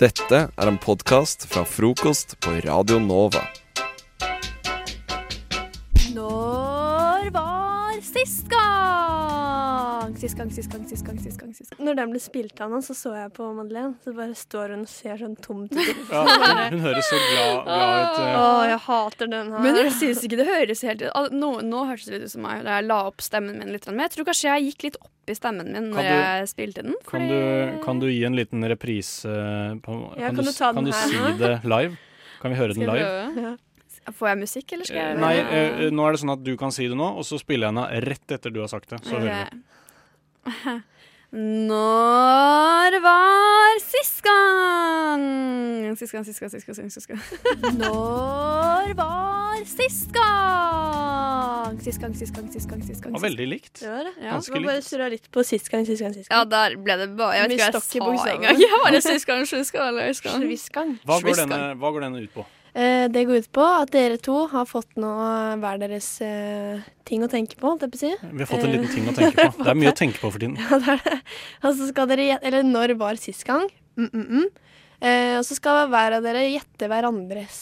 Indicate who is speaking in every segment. Speaker 1: Dette er en podkast fra frokost på Radio Nova.
Speaker 2: Når var sist gang? Sist gang, sist gang, sist gang. sist gang, sist gang. Når den ble spilt av nå, så så jeg på Madeleine. Så bare står hun og ser sånn tomt ut.
Speaker 3: Ja, hun, hun høres så glad, glad ut.
Speaker 2: Å,
Speaker 3: eh.
Speaker 2: jeg hater den her.
Speaker 4: Men jeg synes ikke det høres helt al- Nå, nå hørtes det litt ut som meg da jeg la opp stemmen min litt. Men jeg tror kanskje jeg gikk litt opp i stemmen min
Speaker 3: Kan
Speaker 4: når
Speaker 3: du-
Speaker 4: jeg spilte den.
Speaker 3: Kan
Speaker 4: fordi-
Speaker 3: du, kan du gi en liten reprise? eh, På,
Speaker 2: Ja, kan
Speaker 3: kan,
Speaker 2: du
Speaker 3: du,
Speaker 2: ta
Speaker 3: kan
Speaker 2: den
Speaker 3: du
Speaker 2: her
Speaker 3: si
Speaker 2: nå?
Speaker 3: det live? Kan vi høre
Speaker 4: Skal
Speaker 3: den
Speaker 4: jeg
Speaker 3: live?
Speaker 4: prøve? Får jeg musikk, eller skal
Speaker 3: Eh,
Speaker 4: jeg
Speaker 3: Nei, eh, eh, nå er det sånn at du kan si det nå, og så spiller jeg den av rett etter du har sagt det. Så hører vi.
Speaker 4: Ok. Eh, Når var sist gang? Sist gang, sist gang, sist gang, sist gang.
Speaker 2: Når var sist gang? Sist gang, sist gang, sist gang. sist gang, sist
Speaker 3: Det var
Speaker 2: gang.
Speaker 3: veldig likt.
Speaker 2: Det var det.
Speaker 4: Ja.
Speaker 2: Så man bare
Speaker 3: likt.
Speaker 2: surra litt på sist gang, sist gang, sist
Speaker 4: ja,
Speaker 2: gang.
Speaker 4: der ble det bare Jeg vet
Speaker 2: Mye
Speaker 4: ikke
Speaker 2: stokk i
Speaker 4: hva jeg sa
Speaker 2: buksa.
Speaker 4: engang. Jeg var det sist gang, sist gang, eller sist gang.
Speaker 2: Sviss gang.
Speaker 3: Hva går,
Speaker 4: Swiss
Speaker 3: denne, hva går denne ut på?
Speaker 2: Eh, det går ut på at dere to har fått nå hver deres eh, ting å tenke på, holdt jeg på å si. Eh,
Speaker 3: Vi
Speaker 4: Eh.
Speaker 3: har fått en liten ting å tenke på. Det er mye å tenke på for tiden.
Speaker 2: Ja, det er det. Og så skal dere gjette Eller når var sist gang? Mm, mm, mm. Eh, og så skal hver av dere gjette hverandres.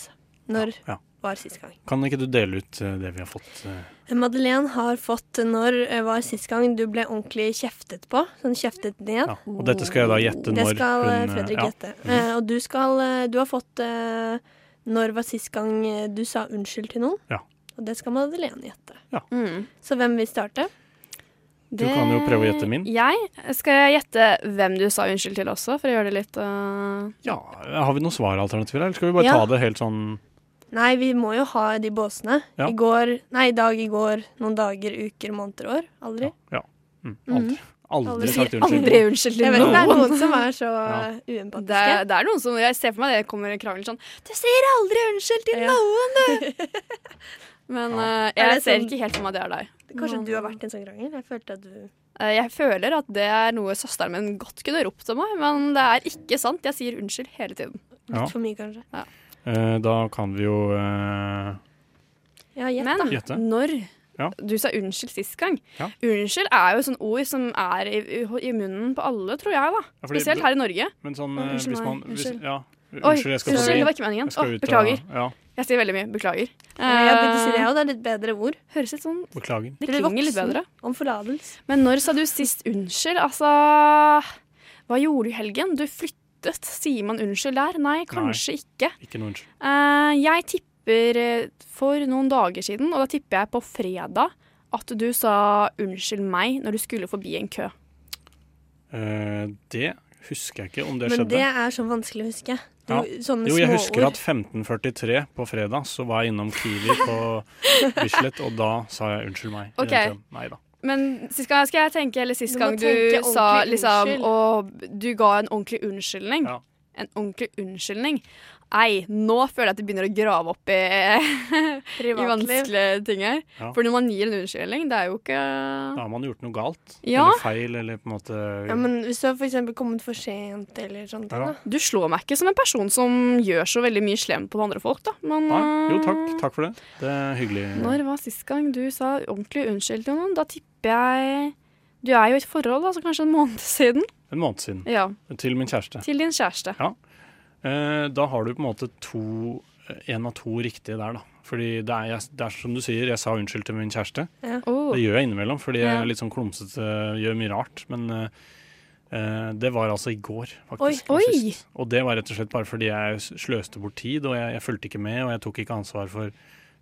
Speaker 2: Når
Speaker 3: Ja.
Speaker 2: var sist gang?
Speaker 3: Kan ikke du dele ut eh, det vi har fått? eh?
Speaker 2: Madeleine har fått 'Når eh, var sist gang du ble ordentlig kjeftet på'? Sånn kjeftet ned.
Speaker 3: Ja. Og dette skal jeg da gjette
Speaker 2: Det
Speaker 3: når
Speaker 2: skal eh,
Speaker 3: hun eh,
Speaker 2: Fredrik
Speaker 3: ja.
Speaker 2: gjette. Eh, og du skal eh, Du har fått eh, 'Når var sist gang eh, du sa unnskyld til noen'?
Speaker 3: Ja.
Speaker 2: Og det skal Madeleine gjette.
Speaker 4: Mm.
Speaker 2: Så hvem vil starte?
Speaker 3: Du kan jo prøve å gjette min.
Speaker 4: Jeg? Skal jeg gjette hvem du sa unnskyld til også, for å gjøre det litt øh,
Speaker 3: Ja, Har vi noen svaralternativer, eller skal vi bare
Speaker 2: Ja.
Speaker 3: ta det helt sånn
Speaker 2: Nei, vi må jo ha de båsene.
Speaker 3: Ja.
Speaker 2: I går, nei, i dag, i går, noen dager, uker, måneder, år. Aldri.
Speaker 3: Ja. Mm, aldri. Aldri
Speaker 2: Alle
Speaker 3: sagt
Speaker 2: sier
Speaker 3: unnskyld.
Speaker 4: Aldri unnskyld
Speaker 2: Jeg
Speaker 4: til
Speaker 2: vet det er
Speaker 4: noen.
Speaker 2: noen som er så
Speaker 3: Ja.
Speaker 4: Det,
Speaker 2: uempatiske.
Speaker 4: er- det er noen som Jeg ser for meg det kommer en krangel sånn Du sier aldri unnskyld til
Speaker 2: Ja.
Speaker 4: noen, du! Men øh,
Speaker 2: Er
Speaker 4: jeg
Speaker 2: det
Speaker 4: ser
Speaker 2: sånn-
Speaker 4: ikke helt for meg det er deg.
Speaker 2: Kanskje du har vært i en sånn krangel? Jeg følte at du
Speaker 4: Eh, Jeg føler at det er noe søsteren min godt kunne ropt til meg, men det er ikke sant. Jeg sier unnskyld hele tiden.
Speaker 2: Litt
Speaker 3: Ja.
Speaker 2: for mye, kanskje.
Speaker 3: Eh, da kan vi jo eh,
Speaker 2: Ja, gjett,
Speaker 4: Men
Speaker 2: da.
Speaker 3: Gjette.
Speaker 4: når
Speaker 3: Ja.
Speaker 4: du sa unnskyld sist gang
Speaker 3: Ja.
Speaker 4: Unnskyld er jo et sånt ord som er i, i munnen på alle, tror jeg, da.
Speaker 3: ja, fordi-
Speaker 4: Spesielt her i Norge.
Speaker 3: Men sånn
Speaker 4: Å,
Speaker 3: eh,
Speaker 4: unnskyld
Speaker 3: hvis man
Speaker 4: meg,
Speaker 3: hvis,
Speaker 4: unnskyld.
Speaker 3: ja,
Speaker 4: Oi,
Speaker 3: Unnskyld, jeg skal
Speaker 4: unnskyld, det
Speaker 3: forbi.
Speaker 4: var ikke meningen.
Speaker 3: Jeg skal
Speaker 4: Å,
Speaker 3: ut av-
Speaker 4: beklager.
Speaker 3: Ja,
Speaker 4: Jeg sier veldig mye. Beklager.
Speaker 2: Jeg begynte å si det
Speaker 4: Eh,
Speaker 2: òg. Det er litt bedre ord.
Speaker 4: høres litt sånn
Speaker 3: beklager.
Speaker 4: Det
Speaker 2: Eller
Speaker 4: klinger litt
Speaker 2: voksen.
Speaker 4: bedre.
Speaker 2: Om forlatelse.
Speaker 4: Men når sa du sist unnskyld? Altså Hva gjorde du i helgen? Du flyttet. Sier man unnskyld der? Nei, kanskje ikke.
Speaker 3: Ikke noe unnskyld.
Speaker 4: Eh, jeg tipper eh, for noen dager siden, og da tipper jeg på fredag, at du sa unnskyld meg når du skulle forbi en kø.
Speaker 3: Eh, det husker jeg ikke om det
Speaker 2: Men
Speaker 3: skjedde.
Speaker 2: det er sånn vanskelig å huske. Du,
Speaker 3: Ja.
Speaker 2: Sånne
Speaker 3: jo, jeg
Speaker 2: småord.
Speaker 3: husker at 1543 på fredag så var jeg innom Kiwi på Bislett, og da sa jeg unnskyld meg. i
Speaker 4: Ok.
Speaker 3: den køen. Nei da.
Speaker 4: Men sist gang skal jeg tenke, eller sist
Speaker 2: Du må
Speaker 4: gang du
Speaker 2: tenke ordentlig
Speaker 4: sa liksom
Speaker 2: unnskyld.
Speaker 4: Og du ga en ordentlig unnskyldning.
Speaker 3: Ja.
Speaker 4: En ordentlig unnskyldning. Nei, nå føler jeg at du begynner å grave opp i i
Speaker 2: privatliv.
Speaker 4: vanskelige ting her.
Speaker 3: Ja.
Speaker 4: For når man gir en unnskyldning, det er jo ikke
Speaker 3: Da har man gjort noe galt.
Speaker 4: Ja.
Speaker 3: Eller feil, eller på en måte
Speaker 2: Ja, men hvis du har for eksempel kommet for sent eller sånne ting,
Speaker 3: Ja.
Speaker 2: da.
Speaker 4: Du slår meg ikke som en person som gjør så veldig mye slemt på andre folk, da. Men
Speaker 3: Nei, Jo, takk. Takk for det. Det er hyggelig.
Speaker 4: eh, Når var sist gang du sa ordentlig unnskyld til noen? Da tipper jeg Du er jo i et forhold, da, så kanskje en måned siden?
Speaker 3: En måned siden.
Speaker 4: Ja.
Speaker 3: Til min kjæreste.
Speaker 4: Til din kjæreste.
Speaker 3: Eh, da har du på en måte to eh, En av to riktige der, da. Fordi det er, jeg, det er som du sier, jeg sa unnskyld til min kjæreste.
Speaker 4: Oh.
Speaker 3: Det gjør jeg innimellom, fordi jeg
Speaker 4: Ja.
Speaker 3: er litt sånn klumsete, gjør mye rart. Men eh, eh, det var altså i går,
Speaker 2: Oi.
Speaker 3: faktisk. det var
Speaker 4: Oi.
Speaker 3: sist. Og det var rett og slett bare fordi jeg s- sløste bort tid, og jeg, jeg fulgte ikke med, og jeg tok ikke ansvar for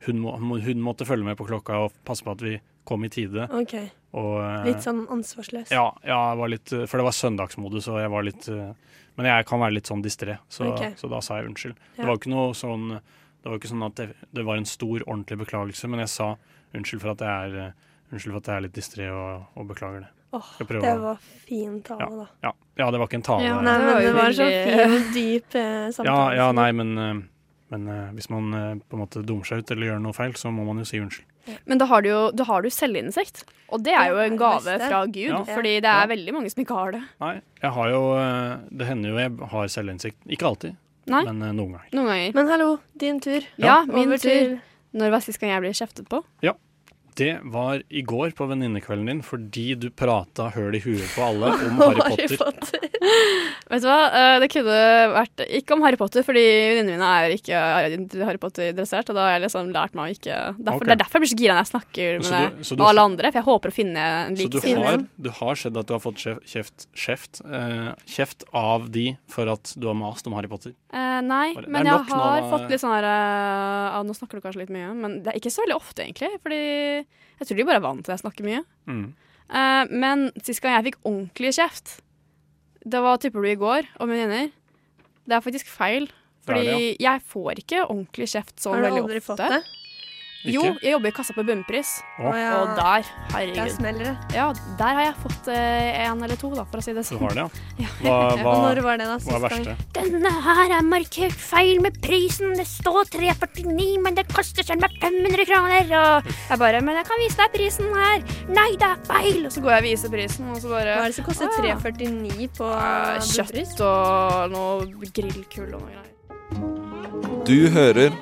Speaker 3: hun, må, må- hun måtte følge med på klokka og passe på at vi kom i tide.
Speaker 2: OK.
Speaker 3: Og, eh,
Speaker 2: Litt sånn ansvarsløs.
Speaker 3: Ja, ja jeg var litt, eh, for det var søndagsmodus, og jeg var litt eh, Men jeg kan være litt sånn distré, så,
Speaker 2: Ok.
Speaker 3: så da sa jeg unnskyld.
Speaker 2: Ja.
Speaker 3: Det var jo ikke noe sånn Det var jo ikke sånn at det, det var en stor, ordentlig beklagelse, men jeg sa unnskyld for at jeg er eh, Unnskyld for at jeg er litt distré og, og beklager det.
Speaker 2: Åh,
Speaker 3: Skal prøve.
Speaker 2: det var fin tale, da.
Speaker 3: Ja. ja, det var ikke en tale.
Speaker 4: Ja,
Speaker 2: Nei,
Speaker 4: det var
Speaker 2: men
Speaker 4: jo
Speaker 2: det var så
Speaker 4: veldig-
Speaker 2: fin og dyp eh,
Speaker 3: ja,
Speaker 2: samtale.
Speaker 3: ja, nei, men, eh, men eh, hvis man eh, på en måte dummer seg ut eller gjør noe feil, så må man jo si unnskyld.
Speaker 4: Men da har du jo da har du selvinnsikt. Og det er jo
Speaker 2: Det er
Speaker 4: en
Speaker 2: det
Speaker 4: gave
Speaker 2: beste.
Speaker 4: fra Gud,
Speaker 3: Ja.
Speaker 4: fordi det
Speaker 3: Ja.
Speaker 4: er veldig mange som ikke har det.
Speaker 3: Nei, jeg har jo eh, Det hender jo jeg har selvinnsikt. Ikke alltid,
Speaker 4: Nei.
Speaker 3: men eh, noen ganger.
Speaker 4: Noen ganger.
Speaker 2: Men hallo, din tur.
Speaker 4: Ja, min
Speaker 2: Over
Speaker 4: tur. Når var sist gang jeg ble kjeftet på?
Speaker 3: Det var i går på venninnekvelden din fordi du prata høl i huet på alle om Harry Potter.
Speaker 4: Vet du hva, Eh, det kunne vært ikke om Harry Potter, fordi venninnene mine er ikke Harry Potter-dressert. Og da har jeg liksom lært meg å ikke derfor,
Speaker 3: Ok.
Speaker 4: Det er derfor jeg blir så gira når jeg snakker med
Speaker 3: Så du- så du-
Speaker 4: med alle andre, for jeg håper å finne en
Speaker 3: Så
Speaker 4: lik
Speaker 3: du
Speaker 4: side.
Speaker 3: har, du har sett at du har fått kjef- kjeft, kjeft, eh, kjeft av de for at du har mast om Harry Potter.
Speaker 4: Eh, nei,
Speaker 3: Bare- det
Speaker 4: men
Speaker 3: er
Speaker 4: jeg
Speaker 3: nok nå,
Speaker 4: har
Speaker 3: da.
Speaker 4: fått litt sånn her eh, ah, Nå snakker du kanskje litt mye, men det er ikke så veldig ofte, egentlig. Fordi jeg tror de bare er vant til at jeg snakker mye.
Speaker 3: Mm.
Speaker 4: Eh, men sist gang jeg fikk ordentlig kjeft, det var tipper du i går, om venninner. Det er faktisk feil.
Speaker 3: Det er
Speaker 4: Fordi
Speaker 3: det,
Speaker 4: jeg får ikke ordentlig kjeft sånn
Speaker 2: Har du
Speaker 4: veldig
Speaker 2: aldri
Speaker 4: ofte.
Speaker 2: fått det?
Speaker 3: Ikke?
Speaker 4: Jo, jeg jobber i kassa på Bunnpris,
Speaker 2: Å
Speaker 3: Å,
Speaker 2: ja.
Speaker 4: og der,
Speaker 2: Der
Speaker 4: herregud
Speaker 2: smeller det.
Speaker 4: Ja, der har jeg fått eh, en eller to, da, for å si det
Speaker 3: Du
Speaker 4: sånn.
Speaker 3: har det, ja? Hva, hva,
Speaker 2: Og når var det, da?
Speaker 3: hva er
Speaker 2: Sist gang?
Speaker 3: verste?
Speaker 5: Denne her er markert feil med prisen. Det står 349, men det koster selv meg 500 kroner. Og jeg bare Men jeg kan vise deg prisen her. Nei, det er feil.
Speaker 4: Så går jeg og viser prisen, og så bare
Speaker 2: Hva er det som koster
Speaker 4: Å, ja.
Speaker 2: 3,49 på
Speaker 4: Eh,
Speaker 2: bunnpris?
Speaker 4: Kjøtt og noe grillkull og noe greier.
Speaker 1: Du hører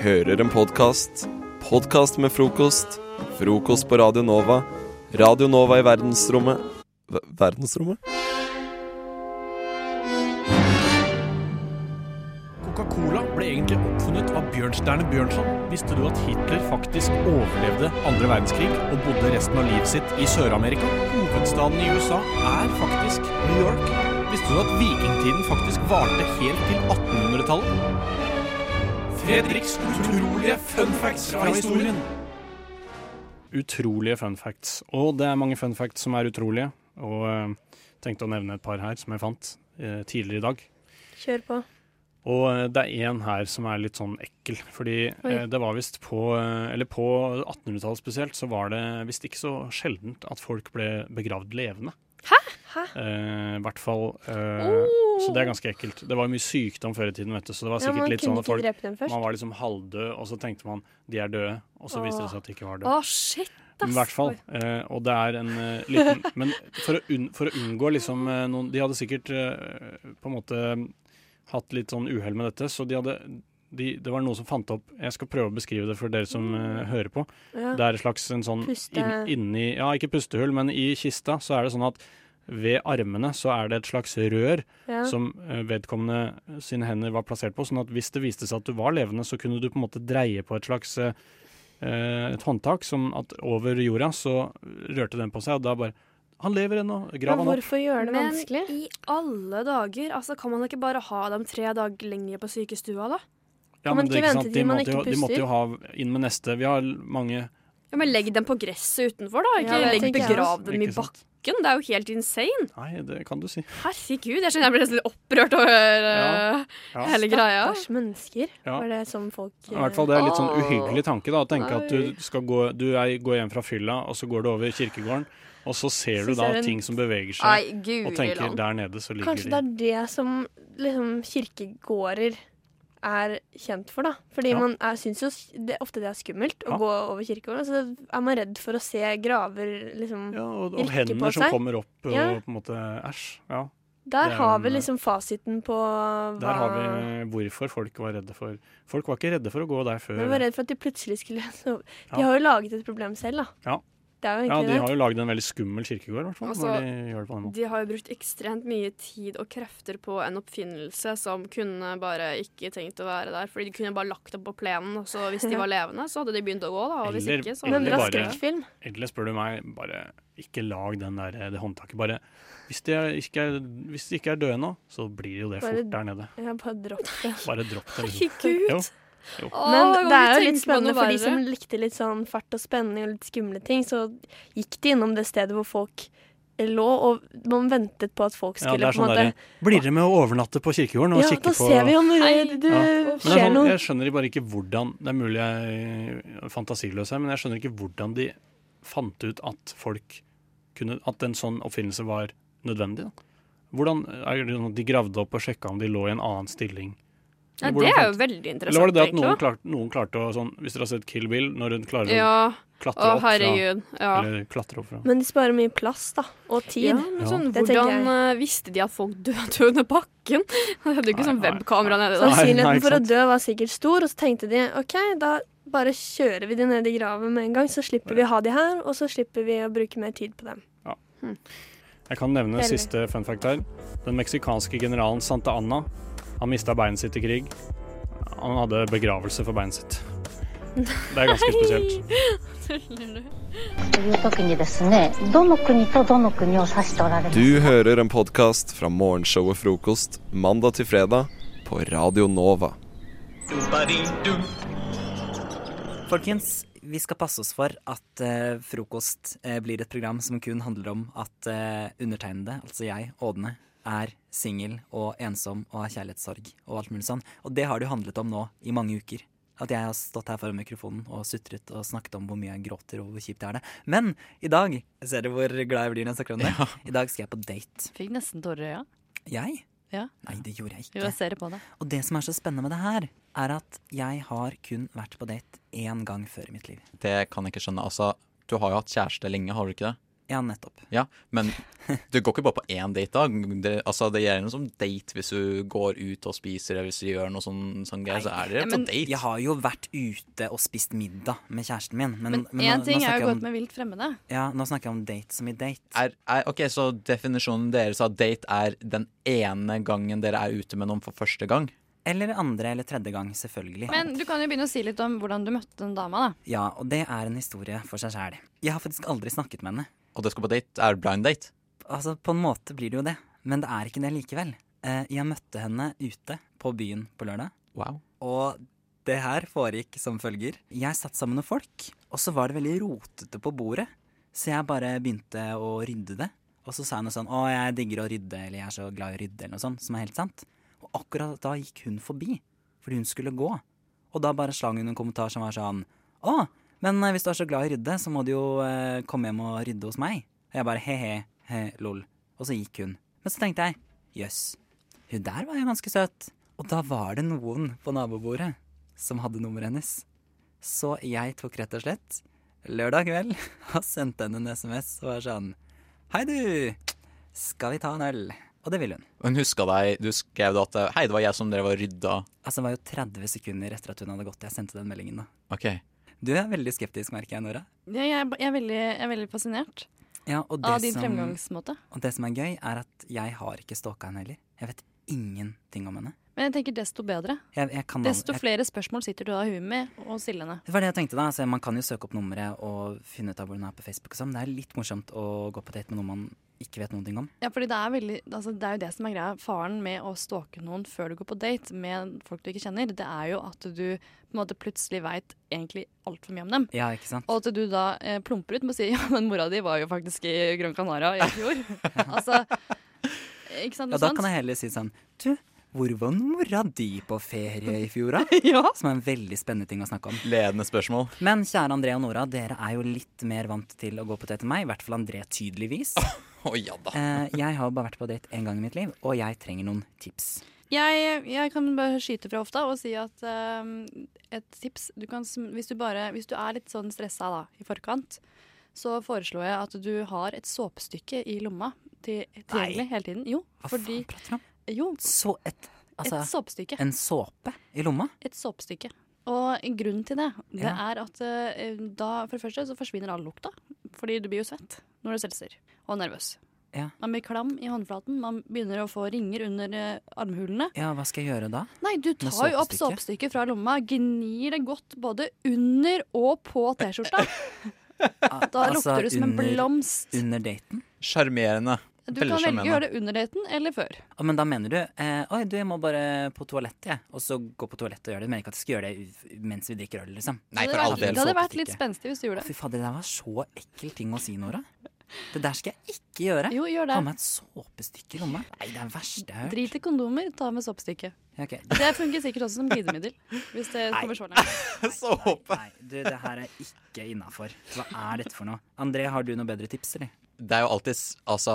Speaker 1: Hører en podkast. Podkast med frokost. Frokost på Radio Nova. Radio Nova i verdensrommet. Ver- verdensrommet?
Speaker 3: Coca-Cola ble egentlig oppfunnet av Bjørnstjerne Bjørnson. Visste du at Hitler faktisk overlevde andre verdenskrig og bodde resten av livet sitt i Sør-Amerika? Hovedstaden i USA er faktisk New York. Visste du at vikingtiden faktisk varte helt til 1800-tallet? Fredriks utrolige fun facts fra historien. Utrolige fun facts. Og det er mange fun facts som er utrolige. Og eh, tenkte å nevne et par her som jeg fant eh, tidligere i dag.
Speaker 2: Kjør på.
Speaker 3: Og eh, det er en her som er litt sånn ekkel. Fordi
Speaker 2: Oi.
Speaker 3: eh, det var visst på eh, Eller på 1800-tallet spesielt, så var det visst ikke så sjeldent at folk ble begravd levende.
Speaker 2: Hæ?
Speaker 3: Eh, I hvert fall eh,
Speaker 2: Oh.
Speaker 3: Så det er ganske ekkelt. Det var jo mye sykdom før i tiden, vet du, så det var
Speaker 2: Ja,
Speaker 3: sikkert
Speaker 2: man
Speaker 3: litt
Speaker 2: kunne
Speaker 3: sånn at
Speaker 2: ikke
Speaker 3: folk
Speaker 2: drepe dem først.
Speaker 3: Man var liksom halvdød, og så tenkte man de er døde, og så viste det seg at de ikke var døde.
Speaker 4: Å, shit,
Speaker 3: Men I hvert fall. Eh, og det er en eh, liten Men for å, unn, for å unngå liksom eh, noen De hadde sikkert eh, på en måte hatt litt sånn uhell med dette, så de hadde de, det var noen som fant opp Jeg skal prøve å beskrive det for dere som eh, hører på.
Speaker 2: Mm. Ja.
Speaker 3: Det er et slags en sånn
Speaker 2: Puste-
Speaker 3: inn, inni Ja, ikke pustehull, men i kista så er det sånn at ved armene så er det et slags rør
Speaker 2: Ja.
Speaker 3: som eh, vedkommende sine hender var plassert på, sånn at hvis det viste seg at du var levende, så kunne du på en måte dreie på et slags eh, eh, et håndtak, som at over jorda så rørte den på seg, og da bare Han lever ennå! Grav
Speaker 2: Men
Speaker 3: han opp!
Speaker 2: hvorfor gjøre det vanskelig?
Speaker 4: Men i alle dager, altså kan man ikke bare ha dem tre dager lenger på sykestua, da?
Speaker 3: Ja,
Speaker 2: kan man
Speaker 3: men det er
Speaker 2: ikke
Speaker 3: ikke
Speaker 2: vente
Speaker 3: sant,
Speaker 2: til
Speaker 3: de
Speaker 2: man
Speaker 3: måtte,
Speaker 2: ikke
Speaker 3: jo, de måtte
Speaker 2: puster?
Speaker 3: jo ha inn med neste. Vi har mange
Speaker 4: Ja, men legg dem på gresset utenfor, da. Ikke
Speaker 2: Ja, det
Speaker 4: legg
Speaker 2: tenker jeg
Speaker 4: begrav dem i
Speaker 3: Ikke sant?
Speaker 4: bakken. Det er jo helt insane.
Speaker 3: Nei, det kan du si.
Speaker 4: Herregud, jeg skjønner jeg blir nesten litt opprørt over
Speaker 3: Ja.
Speaker 4: eh, hele greia.
Speaker 2: Stakkars mennesker.
Speaker 3: Ja.
Speaker 2: Var det som folk
Speaker 3: I hvert fall Det er litt sånn uhyggelig tanke. da, Å tenke at
Speaker 4: Nei.
Speaker 3: du skal gå, du er, går hjem fra fylla, og så går du over kirkegården, og så ser du
Speaker 2: Så
Speaker 3: da
Speaker 2: ser du en-
Speaker 3: ting som beveger
Speaker 4: Nei,
Speaker 3: seg, og
Speaker 4: guri
Speaker 3: tenker
Speaker 4: land.
Speaker 3: der nede så ligger
Speaker 2: Kanskje det
Speaker 3: de.
Speaker 2: er det som liksom, kirkegårder er kjent for, da. Fordi
Speaker 3: Ja.
Speaker 2: man er, syns jo s- det, ofte det er skummelt å
Speaker 3: Ja.
Speaker 2: gå over kirkegården. og Så er man redd for å se graver, liksom.
Speaker 3: Ja, og, og
Speaker 2: Virker
Speaker 3: hender
Speaker 2: på
Speaker 3: som
Speaker 2: seg.
Speaker 3: kommer opp
Speaker 2: Ja.
Speaker 3: og på en måte Æsj. Ja.
Speaker 2: Der
Speaker 3: det er
Speaker 2: har
Speaker 3: en,
Speaker 2: vi
Speaker 3: eh,
Speaker 2: liksom fasiten på hva
Speaker 3: Der har vi eh, hvorfor folk var redde for Folk var ikke redde for å gå der før.
Speaker 2: Men jeg var redd for at de plutselig skulle sove. De
Speaker 3: Ja.
Speaker 2: har jo laget et problem selv, da.
Speaker 3: Ja.
Speaker 2: Det er jo
Speaker 3: Ja,
Speaker 2: egentlig
Speaker 3: de
Speaker 2: det.
Speaker 3: har jo lagd en veldig skummel kirkegård, i hvert fall.
Speaker 4: Altså,
Speaker 3: når de gjør det på den måten.
Speaker 4: De har jo brukt ekstremt mye tid og krefter på en oppfinnelse som kunne bare ikke tenkt å være der. Fordi de kunne bare lagt opp på plenen, og så hvis de var levende, så hadde de begynt å gå, da. Og hvis
Speaker 3: Eller-
Speaker 4: ikke, så
Speaker 2: Men
Speaker 3: Eller
Speaker 2: bra
Speaker 3: bare-
Speaker 2: skrekkfilm.
Speaker 3: Eller spør du meg, bare ikke lag den der, det håndtaket. Bare hvis de, er, ikke er, hvis de ikke er døde nå, så blir jo det
Speaker 2: Bare-
Speaker 3: fort der nede.
Speaker 2: Ja, bare dropp det.
Speaker 3: Bare dropp det. liksom.
Speaker 4: Herregud!
Speaker 3: Jo.
Speaker 2: Men det er jo litt spennende for de som likte litt sånn fart og spenning og litt skumle ting, så gikk de innom det stedet hvor folk lå, og man ventet på at folk
Speaker 3: Ja,
Speaker 2: skulle
Speaker 3: det er
Speaker 2: på en
Speaker 3: sånn
Speaker 2: måte
Speaker 3: der, Blir dere med å overnatte på kirkegården og
Speaker 2: Ja, da
Speaker 3: kikke på
Speaker 2: ser vi om det,
Speaker 4: Nei.
Speaker 2: det
Speaker 3: Ja. Men det er
Speaker 2: skjer
Speaker 3: sånn,
Speaker 2: noe.
Speaker 3: jeg skjønner bare ikke hvordan Det er mulig jeg er fantasiløs her, men jeg skjønner ikke hvordan de fant ut at folk kunne At en sånn oppfinnelse var nødvendig. Da. Hvordan er det sånn at De gravde opp og sjekka om de lå i en annen stilling.
Speaker 4: Ja, det
Speaker 3: Eller hvordan
Speaker 4: er jo
Speaker 3: fant-
Speaker 4: veldig
Speaker 3: Eller var
Speaker 4: interessant,
Speaker 3: det det at noen klarte, noen klarte å sånn Hvis dere har sett Kill Bill, når hun klarer å
Speaker 4: Ja, å
Speaker 3: klatre opp fra,
Speaker 4: herregud. Ja.
Speaker 3: eller klatre opp fra
Speaker 2: Men de sparer mye plass, da. Og tid.
Speaker 4: Ja, men sånn,
Speaker 2: Ja. Det tenker
Speaker 4: hvordan eh, visste de at folk døde under bakken? De hadde jo ikke
Speaker 3: Nei,
Speaker 4: sånn
Speaker 3: nei,
Speaker 4: webkamera nede da.
Speaker 3: Nei, nei,
Speaker 2: Sannsynligheten
Speaker 3: ikke
Speaker 2: for å
Speaker 3: sant.
Speaker 2: dø var sikkert stor, og så tenkte de OK, da bare kjører vi de ned i graven med en gang, så slipper vi å ha de her, og så slipper vi å bruke mer tid på dem.
Speaker 4: Hm.
Speaker 3: Jeg kan nevne
Speaker 2: Eller-
Speaker 3: siste fun fact her. Den meksikanske generalen Santa Anna, han mista beinet sitt i krig. Han hadde begravelse for beinet sitt. Det er ganske spesielt.
Speaker 4: Tuller du?
Speaker 6: という時にですねどの国とどの国を指しておられます
Speaker 1: Du hører en podkast fra morgenshowet Frokost mandag til fredag på Radio Nova.
Speaker 7: Folkens, vi skal passe oss for at eh, frokost eh, blir et program som kun handler om at eh, undertegnede, altså jeg, Ådne, er singel og ensom og har kjærlighetssorg og alt mulig sånn. Og det har det jo handlet om nå i mange uker. At jeg har stått her foran mikrofonen og sutret og snakket om hvor mye jeg gråter og hvor kjipt det er det. Men i dag, ser du hvor glad jeg blir når jeg snakker om det? I dag skal jeg på date.
Speaker 8: Fikk nesten tårer i øya.
Speaker 7: Jeg?
Speaker 8: Ja.
Speaker 7: Nei, det gjorde jeg
Speaker 8: Jo,
Speaker 7: ikke.
Speaker 8: jeg ser det på deg.
Speaker 7: Og det som er så spennende med det her, er at jeg har kun vært på date én gang før i mitt liv.
Speaker 9: Det kan jeg ikke skjønne. Altså, du har jo hatt kjæreste lenge, har du ikke det?
Speaker 7: Ja, nettopp.
Speaker 9: Ja, men du går ikke bare på én date, da. Det, altså, det gjelder noe som date hvis du går ut og spiser, eller hvis du gjør noe sånn, sånn greier, så er det
Speaker 4: Nei,
Speaker 9: på
Speaker 4: men-
Speaker 9: date.
Speaker 7: Jeg har jo vært ute og spist middag med kjæresten min, men,
Speaker 8: Men
Speaker 7: men
Speaker 8: én ting
Speaker 7: nå,
Speaker 8: er
Speaker 7: snakker jeg
Speaker 8: jo godt
Speaker 7: om,
Speaker 8: med vilt fremmede.
Speaker 7: ja, nå snakker jeg om date som i date.
Speaker 9: Er, er, ok, Så definisjonen deres av date er den ene gangen dere er ute med noen for første gang?
Speaker 7: Eller andre eller tredje gang, selvfølgelig.
Speaker 8: Men du kan jo begynne å si litt om hvordan du møtte den dama, da.
Speaker 7: Ja, og det er en historie for seg sjæl. Jeg har faktisk aldri snakket med henne.
Speaker 9: Og det skal på date? Er det blind date?
Speaker 7: Altså, på en måte blir det jo det, men det er ikke det likevel. Eh, Jeg møtte henne ute på byen på lørdag.
Speaker 9: Wow.
Speaker 7: Og det her foregikk som følger. Jeg satt sammen med folk, og så var det veldig rotete på bordet. Så jeg bare begynte å rydde det. Og så sa jeg noe sånn 'Å, jeg digger å rydde', eller 'Jeg er så glad i å rydde', eller noe sånt, som er helt sant. Og akkurat da gikk hun forbi, fordi hun skulle gå. Og da bare slang hun en kommentar som var sånn 'Å, men eh, hvis du er så glad i å rydde, så må du jo eh, komme hjem og rydde hos meg'. Og jeg bare he-he, he, lol. Og så gikk hun. Men så tenkte jeg jøss, hun der var jo ganske søt. Og da var det noen på nabobordet som hadde nummeret hennes. Så jeg tok rett og slett lørdag kveld og sendte henne en SMS og var sånn Hei, du! Skal vi ta en øl? Og det ville hun.
Speaker 9: Hun huska deg, du skrev da at Hei, det var jeg som drev og rydda.
Speaker 7: Altså, det var jo 30 sekunder etter at hun hadde gått. Jeg sendte den meldingen da.
Speaker 9: Ok.
Speaker 7: Du er veldig skeptisk, merker jeg, Nora.
Speaker 8: Ja, jeg, er ba- jeg, er veldig, jeg er veldig fascinert
Speaker 7: Ja, og
Speaker 8: av
Speaker 7: det,
Speaker 8: din
Speaker 7: som,
Speaker 8: fremgangsmåte.
Speaker 7: og det som er gøy, er at jeg har ikke stalka henne heller. Jeg vet ingenting om henne.
Speaker 8: Men jeg tenker desto bedre.
Speaker 7: Jeg, jeg kan
Speaker 8: Desto
Speaker 7: jeg,
Speaker 8: flere spørsmål sitter du da i huet med og stiller henne.
Speaker 7: Det var det jeg tenkte da, altså, Man kan jo søke opp nummeret og finne ut av hvor hun er på Facebook. og sånn. Det er litt morsomt å gå på date med noen man ikke vet noen ting om.
Speaker 8: Ja, fordi det er, veldig, altså, det er jo det som er greia. Faren med å stalke noen før du går på date med folk du ikke kjenner, det er jo at du på en måte plutselig veit egentlig altfor mye om dem.
Speaker 7: Ja, ikke sant?
Speaker 8: Og at du da eh, plumper ut med å si ja, men mora di var jo faktisk i Gran Canaria i fjor. altså, ikke sant?
Speaker 7: Ja, Da kan jeg heller si sånn Du, hvor var mora di på ferie i fjor, da?
Speaker 8: jeg ja.
Speaker 7: Som er en veldig spennende ting å snakke om.
Speaker 9: Ledende spørsmål.
Speaker 7: Men kjære André og Nora, dere er jo litt mer vant til å gå på date enn meg. I hvert fall André, tydeligvis.
Speaker 9: Å ja da.
Speaker 7: Eh, jeg har bare vært på date én gang i mitt liv, og jeg trenger noen tips.
Speaker 8: Jeg, jeg kan bare skyte fra hofta og si at eh, et tips du kan, sm- hvis, du bare, hvis du er litt sånn stressa da, i forkant, så foreslår jeg at du har et såpestykke i lomma til, tilgjengelig hele tiden. Jo,
Speaker 7: Hva
Speaker 8: fordi
Speaker 7: faen prater du om?
Speaker 8: Jo,
Speaker 7: Så et Altså,
Speaker 8: et såpestykke.
Speaker 7: en såpe i lomma?
Speaker 8: Et såpestykke. Og grunnen til det, det
Speaker 7: Ja.
Speaker 8: er at eh, da for det første så forsvinner all lukta. Fordi du blir jo svett når du selser. Og nervøs.
Speaker 7: Ja.
Speaker 8: Man blir klam i håndflaten, man begynner å få ringer under eh, armhulene.
Speaker 7: Ja, hva skal jeg gjøre da?
Speaker 8: Nei, du
Speaker 7: Med
Speaker 8: tar jo opp
Speaker 7: såpestykket?
Speaker 8: såpestykket fra lomma, gnir det godt både under og på T-skjorta.
Speaker 7: Ah,
Speaker 8: Da lukter du som en
Speaker 7: under-
Speaker 8: blomst.
Speaker 7: Under daten?
Speaker 9: Sjarmerende.
Speaker 8: Du
Speaker 9: veldig
Speaker 8: kan velge
Speaker 9: sjarmerende.
Speaker 8: å gjøre det under daten eller før.
Speaker 7: Å, men da mener du eh, Oi, du, jeg må bare på toalettet, jeg. Og så gå på toalettet og gjøre det. Men ikke at jeg skal gjøre det u- mens vi drikker øl, liksom.
Speaker 9: Nei,
Speaker 8: det
Speaker 9: for
Speaker 8: hadde
Speaker 9: all
Speaker 8: vært,
Speaker 9: del.
Speaker 8: det hadde vært litt
Speaker 7: såpestykke.
Speaker 8: spenstig hvis du gjorde det.
Speaker 7: Fy fader, det der var så ekkel ting å si, Nora. Det der skal jeg ikke gjøre.
Speaker 8: Jo, gjør det.
Speaker 7: Ha med et såpestykke i lomma. Nei, det er det verste jeg har hørt.
Speaker 8: Drit i kondomer, ta med såpestykke.
Speaker 7: Ja, ok.
Speaker 8: Det funker sikkert også som glidemiddel. Hvis det kommer så langt.
Speaker 9: Såpe.
Speaker 7: Nei, du, det her er ikke innafor. Hva er dette for noe? André, har du noe bedre tips, eller?
Speaker 9: Det er jo alltid altså,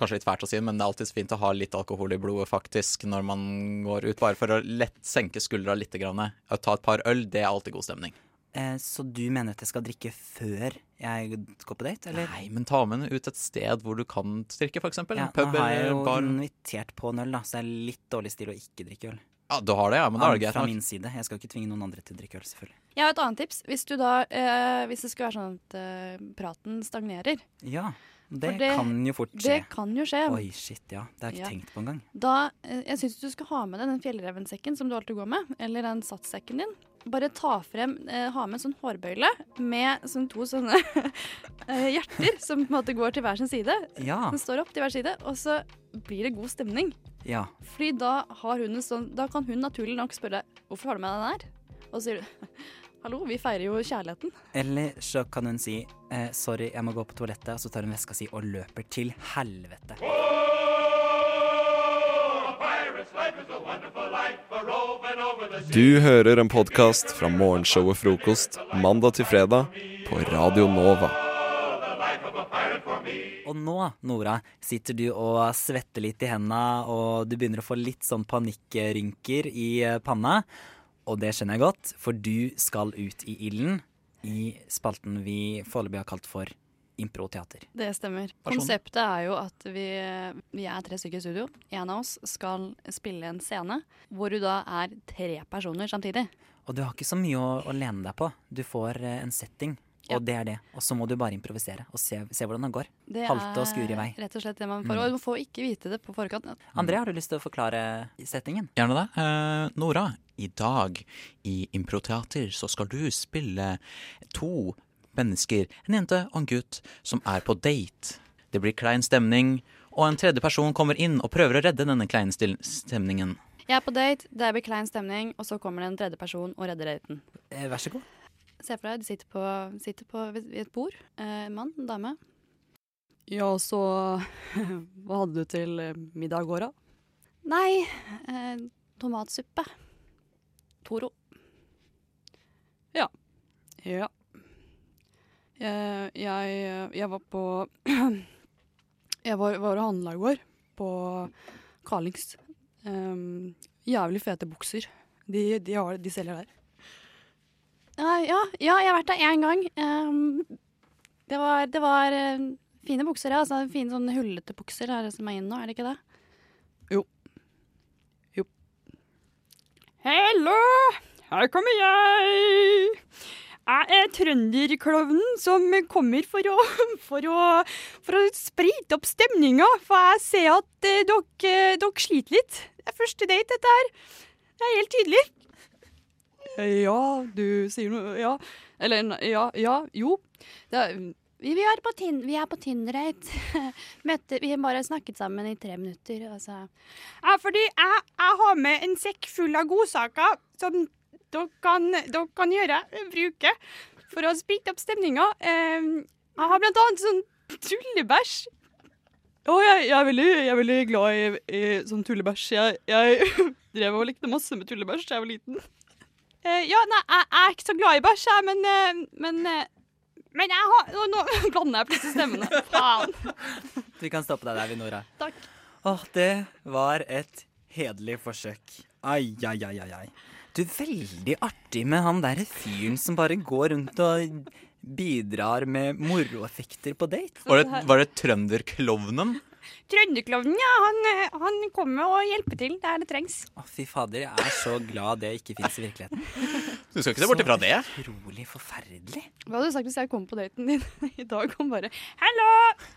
Speaker 9: Kanskje litt fælt å si, men det er alltid fint å ha litt alkohol i blodet faktisk når man går ut. Bare for å lett senke skuldra litt. Grann. Å ta et par øl, det er alltid god stemning.
Speaker 7: Eh, så du mener at jeg skal drikke før jeg går på date, eller?
Speaker 9: Nei, men ta med den ut et sted hvor du kan drikke, f.eks.
Speaker 7: Ja,
Speaker 9: en pub
Speaker 7: nå har jeg
Speaker 9: eller
Speaker 7: jo
Speaker 9: bar.
Speaker 7: invitert på en øl, da, så det er litt dårlig stil å ikke drikke øl.
Speaker 9: Ja, du har det, ja, men da er det
Speaker 7: Fra
Speaker 9: greit.
Speaker 7: min
Speaker 9: nok.
Speaker 7: side. Jeg skal ikke tvinge noen andre til å drikke øl, selvfølgelig.
Speaker 8: Jeg har et annet tips. Hvis, du da, eh, hvis det skulle være sånn at eh, praten stagnerer,
Speaker 7: Ja, det,
Speaker 8: det-
Speaker 7: kan jo fort skje.
Speaker 8: det kan jo skje.
Speaker 7: Oi, shit, ja. Det har jeg ikke
Speaker 8: Ja.
Speaker 7: tenkt på engang.
Speaker 8: Da, eh, jeg syns du skal ha med deg den fjellrevensekken som du alltid går med, eller den satssekken din. Bare ta frem, eh, ha med en sånn hårbøyle med sånn to sånne eh, hjerter som på en måte går til hver sin side.
Speaker 7: Ja,
Speaker 8: Den står opp til hver side, og så blir det god stemning.
Speaker 7: ja.
Speaker 8: Fordi da, har hun en sånn, da kan hun naturlig nok spørre hvorfor har du med deg den her? Og så sier du hallo, vi feirer jo kjærligheten.
Speaker 7: Eller så kan hun si eh, 'sorry, jeg må gå på toalettet', og så tar hun veska si og løper til helvete.
Speaker 1: Du hører en podkast fra morgenshowet Frokost mandag til fredag på Radio Nova.
Speaker 7: Og nå, Nora, sitter du og svetter litt i henda, og du begynner å få litt sånn panikkrynker i eh, panna. Og det skjønner jeg godt, for du skal ut i ilden i spalten vi foreløpig har kalt for improteater.
Speaker 8: Det stemmer.
Speaker 9: Personlig.
Speaker 8: Konseptet er jo at vi, vi er tre stykker i studio. En av oss skal spille en scene hvor du da er tre personer samtidig.
Speaker 7: Og du har ikke så mye å, å lene deg på. Du får eh, en setting,
Speaker 8: Ja.
Speaker 7: og det er det. Og så må du bare improvisere og se, se hvordan det går.
Speaker 8: Det
Speaker 7: Halte og skure i vei. Mm.
Speaker 8: er rett og slett det man får. Og du får ikke vite det på forkant.
Speaker 7: André, har du lyst til å forklare settingen?
Speaker 9: Gjerne det. Eh, Nora, i dag i Improteater så skal du spille to mennesker, en jente og en gutt, som er på date. Det blir klein stemning, og en tredje person kommer inn og prøver å redde denne kleine stil- stemningen.
Speaker 8: Jeg er på date, det er beklein stemning, og så kommer det en tredje person og redder daten.
Speaker 7: Eh, vær så god.
Speaker 8: Se for deg, du sitter på, sitter på ved- ved et bord. Eh, En mann, en dame. Ja, så Hva hadde du til eh, middag i går, da? Nei, eh, tomatsuppe. Toro. Ja. Ja. Jeg, jeg, jeg var på Jeg var, var og handla i går, på Carlings. Ehm, jævlig fete bukser. De, de, har, de selger der. Ja, ja, ja, jeg har vært der én gang. Ehm, det var, det var eh, fine bukser, ja. Altså, fine sånne hullete bukser er det som er inn nå, er det ikke det? Jo. Jo. Hallo! Her kommer jeg! Jeg er trønderklovnen som kommer for å, for å, for å sprite opp stemninga. For jeg ser at eh, dere dere sliter litt. Det er første date, dette her. Det er helt tydelig. Ja, du sier noe Ja. Eller ne- ja, ja, jo. Det er,
Speaker 5: Vi, vi er på, tin vi er på Tinder-date. Møtte- Vi har bare snakket sammen i tre minutter. og
Speaker 8: altså.
Speaker 5: så-
Speaker 10: Ja, fordi jeg, jeg har med en sekk full av godsaker som dere kan, dere kan gjøre, bruke, for å sprite opp stemninga. Eh,
Speaker 8: Ehm,
Speaker 10: Jeg har blant annet sånn tullebæsj.
Speaker 8: å, jeg, jeg, er veldig, jeg er veldig glad i, i sånn tullebæsj. Jeg, jeg drev og lekte masse med tullebæsj da jeg var liten.
Speaker 10: Eh, Ja, nei, jeg, jeg er ikke så glad i bæsj, jeg, men, eh, men eh, men jeg har Nå, nå blander jeg plutselig stemmene. Faen.
Speaker 7: Vi kan stoppe deg der, Nora.
Speaker 10: Takk.
Speaker 7: Åh, det var et hederlig forsøk. Ai, ai, ai, ai, ai. Du, veldig artig med han derre fyren som bare går rundt og bidrar med moroeffekter på date.
Speaker 9: Var det, var det trønderklovnen?
Speaker 10: Trønderklovnen, ja. Han, eh, han kommer og hjelper til der det trengs.
Speaker 7: Å, fy fader, jeg er så glad det ikke fins i virkeligheten.
Speaker 9: Du skal ikke se bort ifra det.
Speaker 7: Så utrolig forferdelig.
Speaker 8: Hva hadde du sagt hvis jeg kom på daten din i dag og bare
Speaker 10: Hallo!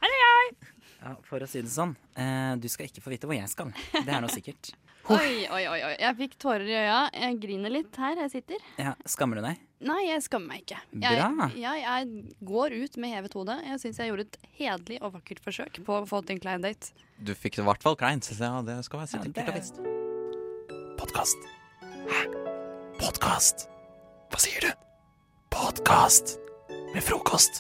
Speaker 10: Hallo, jeg.
Speaker 7: Ja, For å si det sånn, eh, du skal ikke få vite hvor jeg skal. Det er nå sikkert.
Speaker 8: Oi, oi, oi. oi. Jeg fikk tårer i øya. Jeg griner litt her jeg sitter.
Speaker 7: Ja, Skammer du deg?
Speaker 8: Nei, jeg skammer meg ikke. Jeg,
Speaker 7: Bra.
Speaker 8: Jeg, jeg går ut med hevet hode. Jeg syns jeg gjorde et hederlig og vakkert forsøk på å få til en klein date.
Speaker 9: Du fikk det i hvert fall kleint. så Ja, det skal være
Speaker 7: Ja,
Speaker 9: sikkert
Speaker 7: det-
Speaker 9: og visst.
Speaker 1: Podkast. Hæ? Podkast? Hva sier du? Podkast med frokost.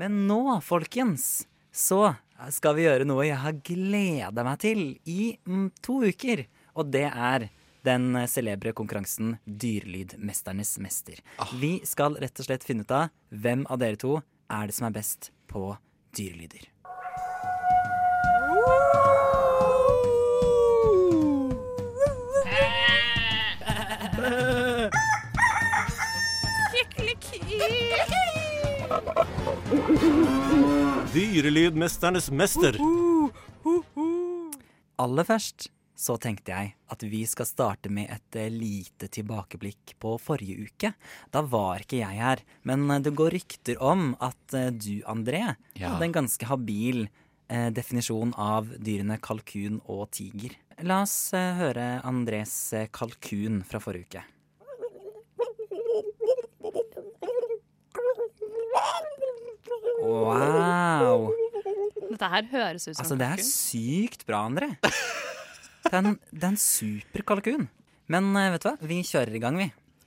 Speaker 7: Men nå, folkens, så skal vi gjøre noe jeg har gleda meg til i mm, to uker. Og det er den celebre konkurransen Dyrelydmesternes mester. Vi skal rett og slett finne ut av hvem av dere to er det som er best på dyrelyder.
Speaker 11: Dyrelydmesternes mester.
Speaker 7: Aller først så tenkte jeg at vi skal starte med et eh, lite tilbakeblikk på forrige uke. Da var ikke jeg her, men eh, det går rykter om at eh, du, André,
Speaker 9: Ja.
Speaker 7: hadde en ganske habil eh, definisjon av dyrene kalkun og tiger. La oss eh, høre Andrés eh, kalkun fra forrige uke. Wow!
Speaker 8: Dette her høres ut som
Speaker 7: Altså, det er sykt bra, André. Det er en, det er en super kalkun. Men eh, vet du hva, vi kjører i gang, vi.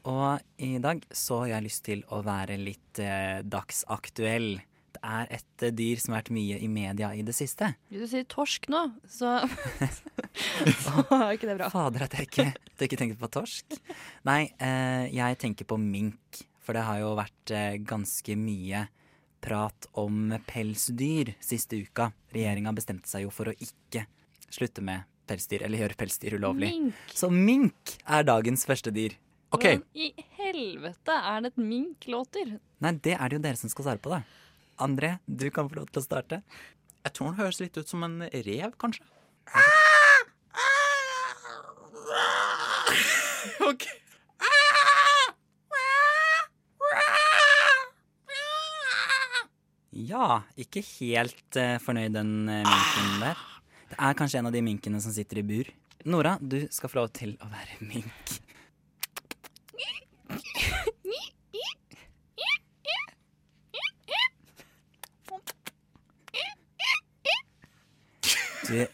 Speaker 7: Og i dag så har jeg lyst til å være litt eh, dagsaktuell. Det er et eh, dyr som har vært mye i media i det siste.
Speaker 8: Hvis du sier torsk nå, så Så er ikke det bra.
Speaker 7: Fader, at jeg ikke, at jeg ikke tenkte på torsk. Nei, eh, jeg tenker på mink. For det har jo vært eh, ganske mye prat om pelsdyr siste uka. Regjeringa bestemte seg jo for å ikke slutte med pelsdyr, eller gjøre pelsdyr ulovlig.
Speaker 8: Mink.
Speaker 7: Så mink er dagens første dyr.
Speaker 8: Hvordan i helvete er det et mink låter?
Speaker 7: Nei, det er det jo dere som skal svare på, da. André, du kan få lov til å starte.
Speaker 9: Jeg tror den høres litt ut som en rev, kanskje.
Speaker 3: Ok.
Speaker 7: Ja, ikke helt eh, fornøyd den eh, minken der. Det er kanskje en av de minkene som sitter i bur. Nora, du skal få lov til å være mink. Du,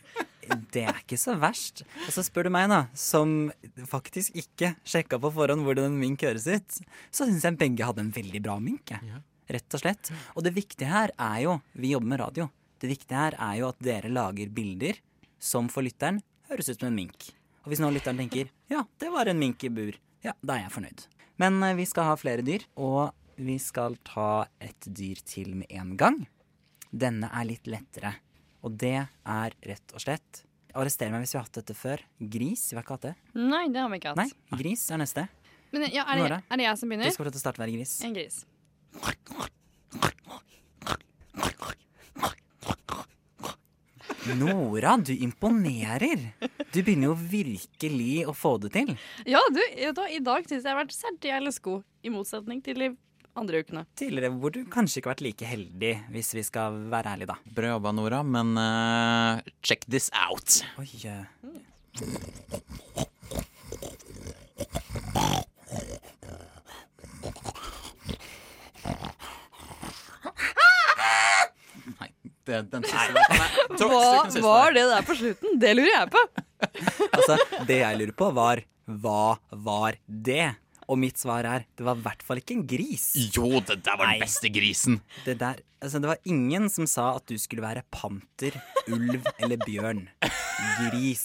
Speaker 7: det er ikke så verst. Og så spør du meg, da, som faktisk ikke sjekka på forhånd hvordan en mink høres ut, så syns jeg begge hadde en veldig bra mink. jeg. Rett og slett. Og det viktige her er jo Vi jobber med radio. Det viktige her er jo at dere lager bilder som for lytteren høres ut som en mink. Og hvis nå lytteren tenker ja, det var en mink i bur, ja, da er jeg fornøyd. Men eh, vi skal ha flere dyr, og vi skal ta et dyr til med en gang. Denne er litt lettere, og det er rett og slett Arrester meg hvis vi har hatt dette før. Gris, vi har ikke hatt det.
Speaker 8: Nei, det har vi ikke hatt.
Speaker 7: Nei, gris er neste.
Speaker 8: Men ja, er, det,
Speaker 7: Nora,
Speaker 8: er det jeg som
Speaker 7: Du
Speaker 8: begynner?
Speaker 7: skal få lov til å starte å være gris.
Speaker 8: En gris.
Speaker 7: Nora, du imponerer! Du begynner jo virkelig å få det til.
Speaker 8: Ja, du, vet du hva, i dag syns jeg jeg har vært særdeles god, i motsetning til de andre ukene.
Speaker 7: Tidligere hvor du kanskje ikke har vært like heldig, hvis vi skal være ærlige, da.
Speaker 9: Bra jobba, Nora, men eh, check this out.
Speaker 7: Oi, eh.
Speaker 9: Det, den siste var Nei, tok- tok den
Speaker 8: Hva
Speaker 9: siste
Speaker 8: var
Speaker 9: der.
Speaker 8: det der på slutten? Det lurer jeg på.
Speaker 7: Altså, det jeg lurer på, var hva var det? Og mitt svar er det var i hvert fall ikke en gris.
Speaker 9: Jo, det der var den beste grisen.
Speaker 7: Det, der, altså, det var ingen som sa at du skulle være panter, ulv eller bjørn. Gris.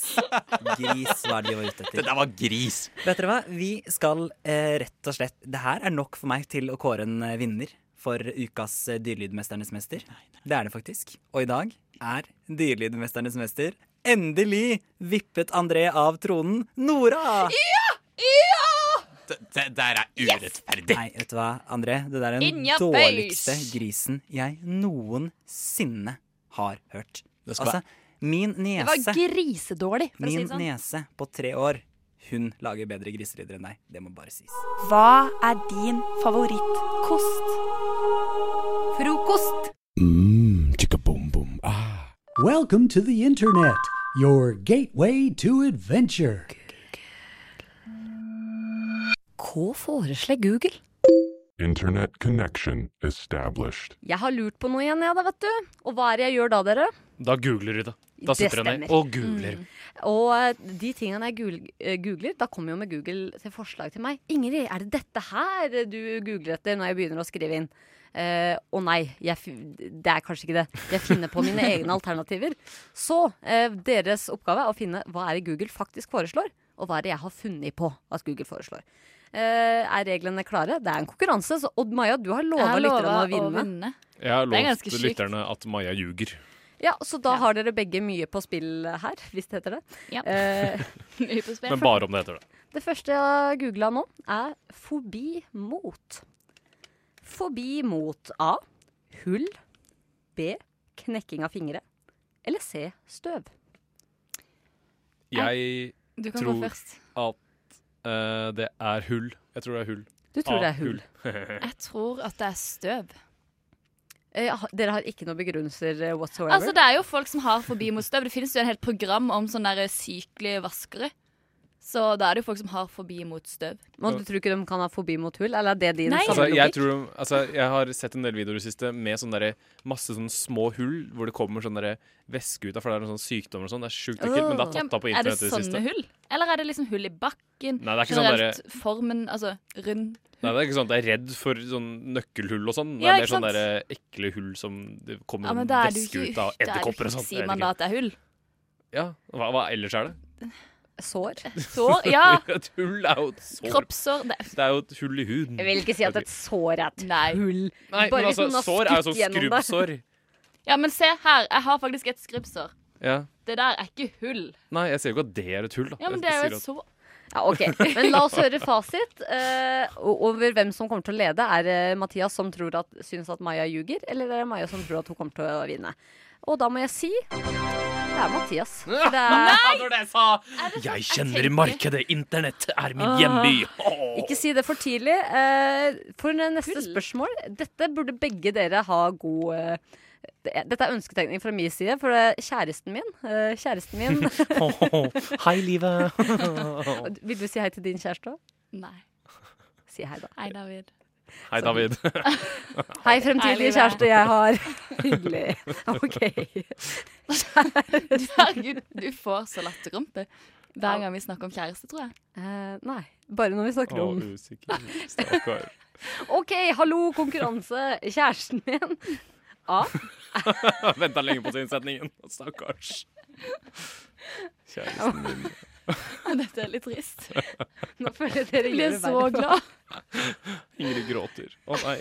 Speaker 7: Gris var det vi var ute etter.
Speaker 9: Det der var gris.
Speaker 7: Vet dere hva? Vi skal eh, rett og slett Det her er nok for meg til å kåre en eh, vinner for ukas eh, Dyrelydmesternes mester. Det er det faktisk. Og i dag er Dyrelydmesternes mester endelig vippet André av tronen. Nora!
Speaker 9: Det, det der er urettferdig.
Speaker 7: Nei, vet du hva, André? Det der er
Speaker 9: In
Speaker 7: den
Speaker 9: your
Speaker 7: dårligste
Speaker 9: face.
Speaker 7: grisen jeg noensinne har hørt.
Speaker 9: skal
Speaker 7: Altså, min
Speaker 8: Det var
Speaker 7: nese
Speaker 8: grisedårlig, for å si
Speaker 7: Min
Speaker 8: det sånn.
Speaker 7: nese på tre år, hun lager bedre griselyder enn deg. Det må bare sies.
Speaker 12: Hva er din favorittkost? Frokost.
Speaker 13: Mmm, chicka boom boom. Ah. Welcome to the internet, your gateway to adventure.
Speaker 14: Hva foreslår Google?
Speaker 15: Internet connection established.
Speaker 14: Jeg har lurt på noe igjen, jeg da, vet du. Og hva er det jeg gjør da, dere?
Speaker 11: Da googler du det. Da
Speaker 14: Det
Speaker 11: sitter du ned
Speaker 14: stemmer.
Speaker 11: og googler.
Speaker 14: Og eh, de tingene jeg googl- eh, googler, da kommer jo med Google til forslag til meg. Ingrid, er det dette her du googler etter når jeg begynner å skrive inn? Eh, Å nei, jeg, fi- det er kanskje ikke det. Jeg finner på mine egne alternativer. Så eh, deres oppgave er å finne hva er det Google faktisk foreslår, og hva er det jeg har funnet på at Google foreslår. Eh, er reglene klare? Det er en konkurranse, så Odd Maja, du har lova
Speaker 8: Jeg
Speaker 14: lytterne å
Speaker 8: lovet å
Speaker 14: vinne.
Speaker 8: vinne.
Speaker 11: Jeg
Speaker 14: Det
Speaker 11: har
Speaker 14: er
Speaker 11: lovt
Speaker 14: ganske sykt.
Speaker 11: lytterne at Maja ljuger.
Speaker 14: Ja, så da har dere begge mye på spill her, hvis det heter det. Eh,
Speaker 11: Men bare om det heter det.
Speaker 14: Det første jeg har googla nå, er fobi mot. Fobi mot A. Hull. B. Knekking av fingre. Eller C. Støv.
Speaker 11: Jeg
Speaker 14: Du kan gå
Speaker 11: tror
Speaker 14: først.
Speaker 11: at eh, det er hull. Jeg tror det er hull.
Speaker 14: Du tror
Speaker 11: Ah,
Speaker 14: det er hull.
Speaker 11: hull.
Speaker 16: tror at det er støv.
Speaker 14: Eh, ha- dere har ikke noen begrunnelser eh, whatsoever?
Speaker 16: Altså, Det er jo folk som har fobi mot støv. Det finnes jo en helt program om sånne der sykelige vaskere. Så da er det jo folk som har fobi mot støv.
Speaker 14: Men du tror ikke de kan ha fobi mot hull? Eller er det din
Speaker 16: Nei.
Speaker 11: Altså, jeg,
Speaker 14: samlelogikk?
Speaker 11: tror, de- altså, jeg har sett en del videoer i det siste med sånn derre- masse sånne små hull hvor det kommer sånn derre væske ut av, for det er noen sånne sykdommer og sånn. Det er sjukt ekkelt, men det er tatt av på
Speaker 16: Ja, Er
Speaker 11: internett i det
Speaker 16: det
Speaker 11: siste.
Speaker 16: sånne hull? Eller er det liksom hull i bakken?
Speaker 11: Nei, det er ikke sånn
Speaker 16: Generelt Formen, altså rund.
Speaker 11: Nei, det er ikke sånn at jeg er redd for sånn nøkkelhull og sånn. Det
Speaker 16: Ja,
Speaker 11: er
Speaker 16: ikke
Speaker 11: mer sånn
Speaker 16: sant?
Speaker 11: derre ekle hull som det kommer
Speaker 16: Ja, men
Speaker 11: sånn
Speaker 16: da er det
Speaker 11: væske
Speaker 16: jo ikke-
Speaker 11: ut av
Speaker 16: da er det
Speaker 11: edderkopper og
Speaker 16: ikke-
Speaker 11: sånn.
Speaker 16: Sier man da at det er hull?
Speaker 11: Ja. Hva, hva ellers er det?
Speaker 14: Sår?
Speaker 16: Sår? Ja.
Speaker 11: et hull er jo et sår.
Speaker 16: Kroppssår. Det
Speaker 11: Det er jo et hull i huden.
Speaker 14: Jeg vil ikke si at et sår er et hull. Bare
Speaker 11: Nei, men
Speaker 14: hvis
Speaker 11: altså,
Speaker 16: liksom
Speaker 14: noen har
Speaker 11: sår er jo
Speaker 14: skutt
Speaker 11: sånn
Speaker 14: gjennom det.
Speaker 11: skrubbsår.
Speaker 16: Ja, men se her. Jeg har faktisk et skrubbsår.
Speaker 11: Ja.
Speaker 16: Det der er ikke hull.
Speaker 11: Nei, jeg ser jo ikke at det er et hull, da.
Speaker 16: Ja, men
Speaker 11: Jeg
Speaker 16: det er jo
Speaker 11: sier
Speaker 16: et sår.
Speaker 14: Ja, ok. Men la oss høre fasit eh, o- over hvem som kommer til å lede. Er det Mathias som tror at, syns at Maja ljuger, eller er det Maja som tror at hun kommer til å vinne? Og da må jeg si det er Mathias. For det er,
Speaker 11: Når det sa Jeg kjenner markedet. Internett er min
Speaker 14: Ah.
Speaker 11: hjemby.
Speaker 14: Ikke si det for tidlig. eh, For neste spørsmål Dette burde begge dere ha god eh, det- Dette er ønsketegning fra min side, for det er kjæresten min eh, Kjæresten min
Speaker 9: Hei, livet.
Speaker 14: Vil du si hei til din kjæreste òg?
Speaker 16: Nei.
Speaker 14: Si hei, da.
Speaker 16: Hei, David.
Speaker 11: Hei, David.
Speaker 14: Hei,
Speaker 16: Hei,
Speaker 14: fremtidige
Speaker 16: livet.
Speaker 14: kjæreste jeg har. Hyggelig. OK.
Speaker 16: Herregud, du får så latterrumpe hver gang vi snakker om kjæreste, tror jeg.
Speaker 14: Eh, nei. Bare når vi snakker om
Speaker 11: usikker. Stakkar.
Speaker 14: OK, hallo, konkurranse. Kjæresten min. A.
Speaker 11: Venta lenge på sin setningen. Stakkars. Kjæresten min.
Speaker 16: Dette er litt trist.
Speaker 14: Nå føler jeg dere
Speaker 16: Jeg blir
Speaker 14: gjør det
Speaker 16: så
Speaker 14: verre.
Speaker 16: glad.
Speaker 11: Ingrid gråter. Å nei.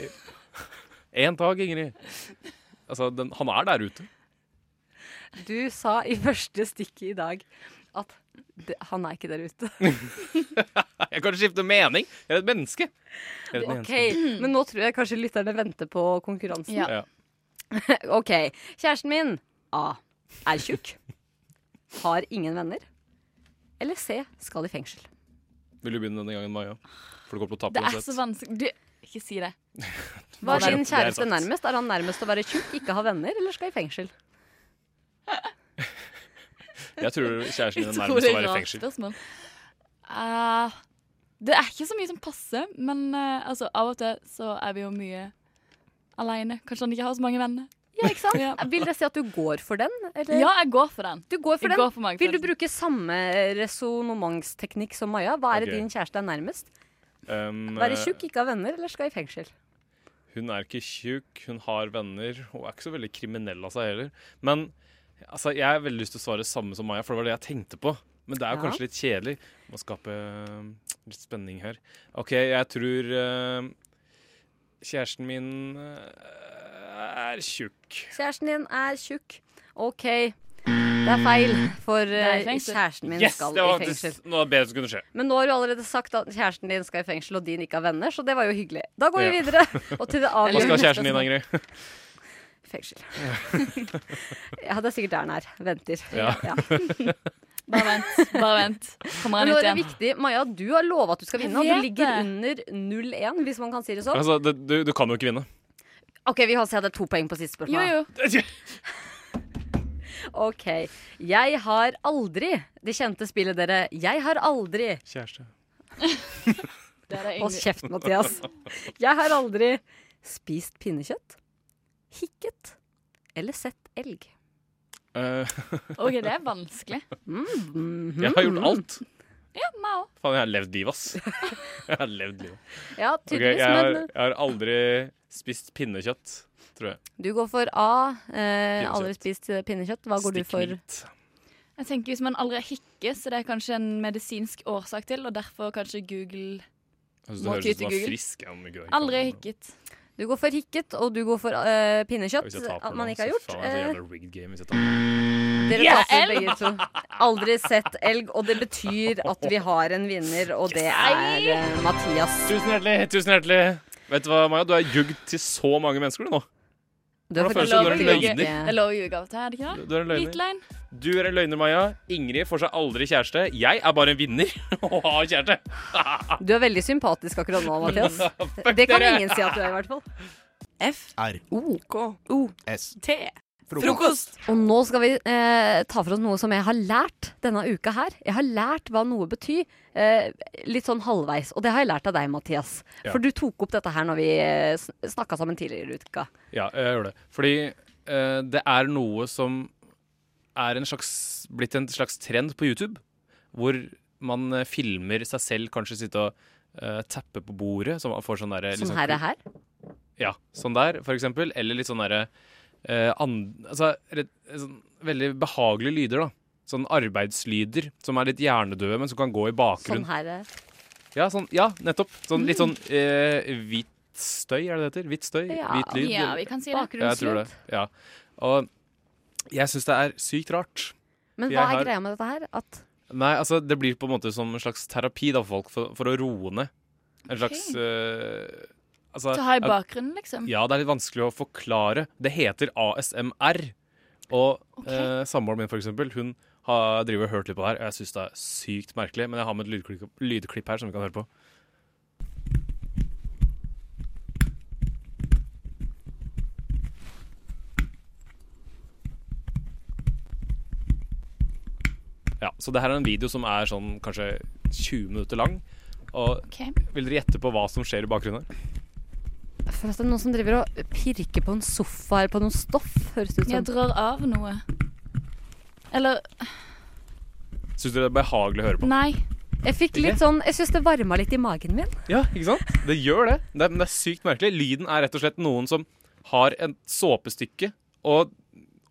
Speaker 11: En dag, Ingrid. Altså, den, han er der ute.
Speaker 14: Du sa i første stikket i dag at det, han er ikke der ute.
Speaker 11: Jeg kan skifte mening. Jeg er et menneske. Jeg er et
Speaker 14: OK,
Speaker 11: menneske.
Speaker 14: men nå tror jeg kanskje lytterne venter på konkurransen.
Speaker 11: Ja.
Speaker 14: OK. Kjæresten min A. Er tjukk. Har ingen venner. Eller C. Skal i fengsel.
Speaker 11: Vil du begynne denne gangen, Maja? For du kommer til å tape
Speaker 16: Det er
Speaker 11: uansett.
Speaker 16: så vanskelig du, Ikke si det.
Speaker 14: Hva
Speaker 11: Det er-
Speaker 14: er din
Speaker 11: det er
Speaker 14: kjæreste
Speaker 11: sant.
Speaker 14: nærmest? Er han nærmest å være tjukk, ikke ha venner, eller skal i fengsel?
Speaker 11: Jeg tror kjæresten din
Speaker 16: Utrolig
Speaker 11: er nærmest å være i
Speaker 16: rart
Speaker 11: fengsel.
Speaker 16: spørsmål. Eh, det er ikke så mye som passer, men eh, altså, av og til så er vi jo mye aleine. Kanskje han ikke har så mange venner.
Speaker 14: Ja, ikke sant? Vil det si at du går for den? Eller?
Speaker 16: Ja, jeg går for den.
Speaker 14: Du går for
Speaker 16: Jeg
Speaker 14: den.
Speaker 16: går for magefølelsen.
Speaker 14: Vil du bruke samme resonnementsteknikk som Maja? Hva er det
Speaker 11: Ok.
Speaker 14: din kjæreste er nærmest?
Speaker 11: Um,
Speaker 14: Være tjukk, ikke ha venner, eller skal i fengsel?
Speaker 11: Hun er ikke tjukk, hun har venner, og er ikke så veldig kriminell av seg heller. Men altså, jeg har veldig lyst til å svare samme som Maja, for det var det jeg tenkte på. Men det er jo
Speaker 14: Ja.
Speaker 11: kanskje litt kjedelig. Må skape øh, litt spenning her. OK, jeg tror øh, kjæresten min øh, er tjukk.
Speaker 14: Kjæresten din er tjukk. OK. Det er feil, for
Speaker 16: er i
Speaker 14: eh,
Speaker 16: fengsel.
Speaker 14: kjæresten min
Speaker 11: Yes!
Speaker 14: skal
Speaker 11: Det var
Speaker 14: i fengsel.
Speaker 11: faktisk noe av det bedre som kunne skje.
Speaker 14: Men nå har du allerede sagt at kjæresten din skal i fengsel, og din ikke har venner, så det var jo hyggelig. Da går vi
Speaker 11: Ja.
Speaker 14: videre. Og til det
Speaker 11: Hva skal
Speaker 14: avgjørende
Speaker 11: kjæresten din,
Speaker 14: spørsmålet.
Speaker 11: Ingrid?
Speaker 14: Fengsel. ja, det er sikkert der den er. Venter.
Speaker 11: Ja.
Speaker 16: Bare vent. Bare vent. Kommer han
Speaker 14: Men nå
Speaker 16: ut
Speaker 14: er det
Speaker 16: igjen?
Speaker 14: viktig. Maja, du har lova at du skal
Speaker 16: Jeg
Speaker 14: vinne, og du
Speaker 16: vet
Speaker 14: ligger
Speaker 16: det.
Speaker 14: under 0-1, hvis man kan si det sånn.
Speaker 11: Altså, det, du, du kan jo ikke vinne.
Speaker 14: OK, vi kan si at det er to poeng på siste spørsmål.
Speaker 16: Jo,
Speaker 11: jo.
Speaker 14: OK. Jeg har aldri det kjente spillet, dere. Jeg har aldri
Speaker 11: Kjæreste.
Speaker 16: Der er
Speaker 14: Hold
Speaker 16: Ingrid.
Speaker 14: kjeft, Mathias. Jeg har aldri spist pinnekjøtt, hikket eller sett elg.
Speaker 11: Eh,
Speaker 16: OK, det er vanskelig.
Speaker 14: Mm. Mhm.
Speaker 11: jeg har gjort alt.
Speaker 16: Ja, meg òg.
Speaker 11: Faen, jeg har levd livet, ass. Jeg har levd livet.
Speaker 14: Ja,
Speaker 11: Ok,
Speaker 14: tydeligvis,
Speaker 11: jeg, har,
Speaker 14: men-
Speaker 11: jeg har aldri spist pinnekjøtt, tror jeg.
Speaker 14: Du går for A. Eh,
Speaker 11: Pinnekjøtt.
Speaker 14: aldri spist eh, pinnekjøtt. Hva går du for?
Speaker 16: Jeg tenker Hvis man aldri hikker, så det er kanskje en medisinsk årsak til, og derfor kanskje Google
Speaker 11: Jeg synes
Speaker 16: må
Speaker 11: det høres
Speaker 16: ty til
Speaker 11: ut som han er
Speaker 16: Google.
Speaker 11: frisk. Ja, men gud,
Speaker 16: Aldri hikket.
Speaker 14: Du går for hikket, og du går for eh, pinnekjøtt.
Speaker 11: Hvis jeg taper
Speaker 14: At man
Speaker 11: nå,
Speaker 14: ikke har
Speaker 11: så
Speaker 14: gjort.
Speaker 11: Faen, det er så
Speaker 14: Eh,
Speaker 11: jævla rigged game hvis jeg taper.
Speaker 14: Dere taper begge to. Aldri sett elg, og det betyr at vi har en vinner, og det er eh, Mathias.
Speaker 11: Eh, Tusen hjertelig, tusen hjertelig. Vet du hva, Maja? Du har jugd til så mange mennesker du nå.
Speaker 14: Du er
Speaker 11: Hvordan
Speaker 14: faktisk-
Speaker 11: føles det når
Speaker 14: Det
Speaker 11: en
Speaker 14: er lov å
Speaker 11: løgner?
Speaker 14: ljuge.
Speaker 16: Det er lov å ljuge av og til, er det ikke det?
Speaker 11: Du er en
Speaker 16: Hvit løgn.
Speaker 11: løgner. Du er en løgner, Maja. Ingrid får seg aldri kjæreste. Jeg er bare en vinner og har kjæreste.
Speaker 14: Du er veldig sympatisk akkurat nå, Mathias. Det kan ingen si at du er, i hvert fall. F.
Speaker 17: R.
Speaker 14: O. K. O.
Speaker 17: S.
Speaker 14: T.
Speaker 17: Frokost.
Speaker 14: Og nå skal vi eh, ta for oss noe som jeg har lært denne uka her. Jeg har lært hva noe betyr, eh, litt sånn halvveis. Og det har jeg lært av deg, Mathias.
Speaker 11: Ja.
Speaker 14: For du tok opp dette her når vi eh, sn- snakka sammen tidligere i uka.
Speaker 11: Ja, jeg gjør det. Fordi eh, det er noe som er en slags, blitt en slags trend på YouTube, hvor man eh, filmer seg selv kanskje sitte og eh, tappe på bordet. Så man får sånn derre
Speaker 14: Sånn
Speaker 11: liksom-
Speaker 14: her er her.
Speaker 11: Ja, sånn der, for eksempel. Eller litt sånn derre eh, and- altså, rett, sånn, Veldig behagelige lyder, da. Sånn arbeidslyder som er litt hjernedøde, men som kan gå i bakgrunnen.
Speaker 14: Sånn her er
Speaker 11: Ja, sånn, ja nettopp. Sånn, litt sånn
Speaker 14: Mm.
Speaker 11: eh, hvitt støy, er det det heter? Hvitt støy?
Speaker 16: Ja.
Speaker 11: Hvit lyd?
Speaker 16: Ja, vi kan si det.
Speaker 11: Ja, jeg tror det. Ja. Og jeg syns det er sykt rart.
Speaker 14: Men
Speaker 11: For
Speaker 14: hva
Speaker 11: jeg
Speaker 14: er
Speaker 11: har-
Speaker 14: greia med dette her? At
Speaker 11: Nei, altså, det blir på en måte som en slags terapi da, for folk, for, for å roe ned. En slags eh, altså,
Speaker 16: Ta her i
Speaker 11: at-
Speaker 16: bakgrunnen, liksom.
Speaker 11: Ja, det er litt vanskelig å forklare. Det heter ASMR. Og eh, samboeren min, for eksempel, hun har driver og hørt litt på det her, og jeg syns det er sykt merkelig. Men jeg har med et lydklipp, lydklipp her som vi kan høre på. Ja, så det her er en video som er sånn kanskje 20 minutter lang. Og vil dere gjette på hva som skjer i bakgrunnen?
Speaker 14: For at det er noen som driver og pirker på en sofa eller på noe stoff, høres det ut som.
Speaker 16: Jeg drar av noe. Eller
Speaker 11: Syns dere det er behagelig å høre på?
Speaker 16: Nei.
Speaker 14: Jeg fikk litt sånn Jeg syns det varma litt i magen min.
Speaker 11: Ja, ikke sant? Det gjør det. det er, men det er sykt merkelig. Lyden er rett og slett noen som har et såpestykke og,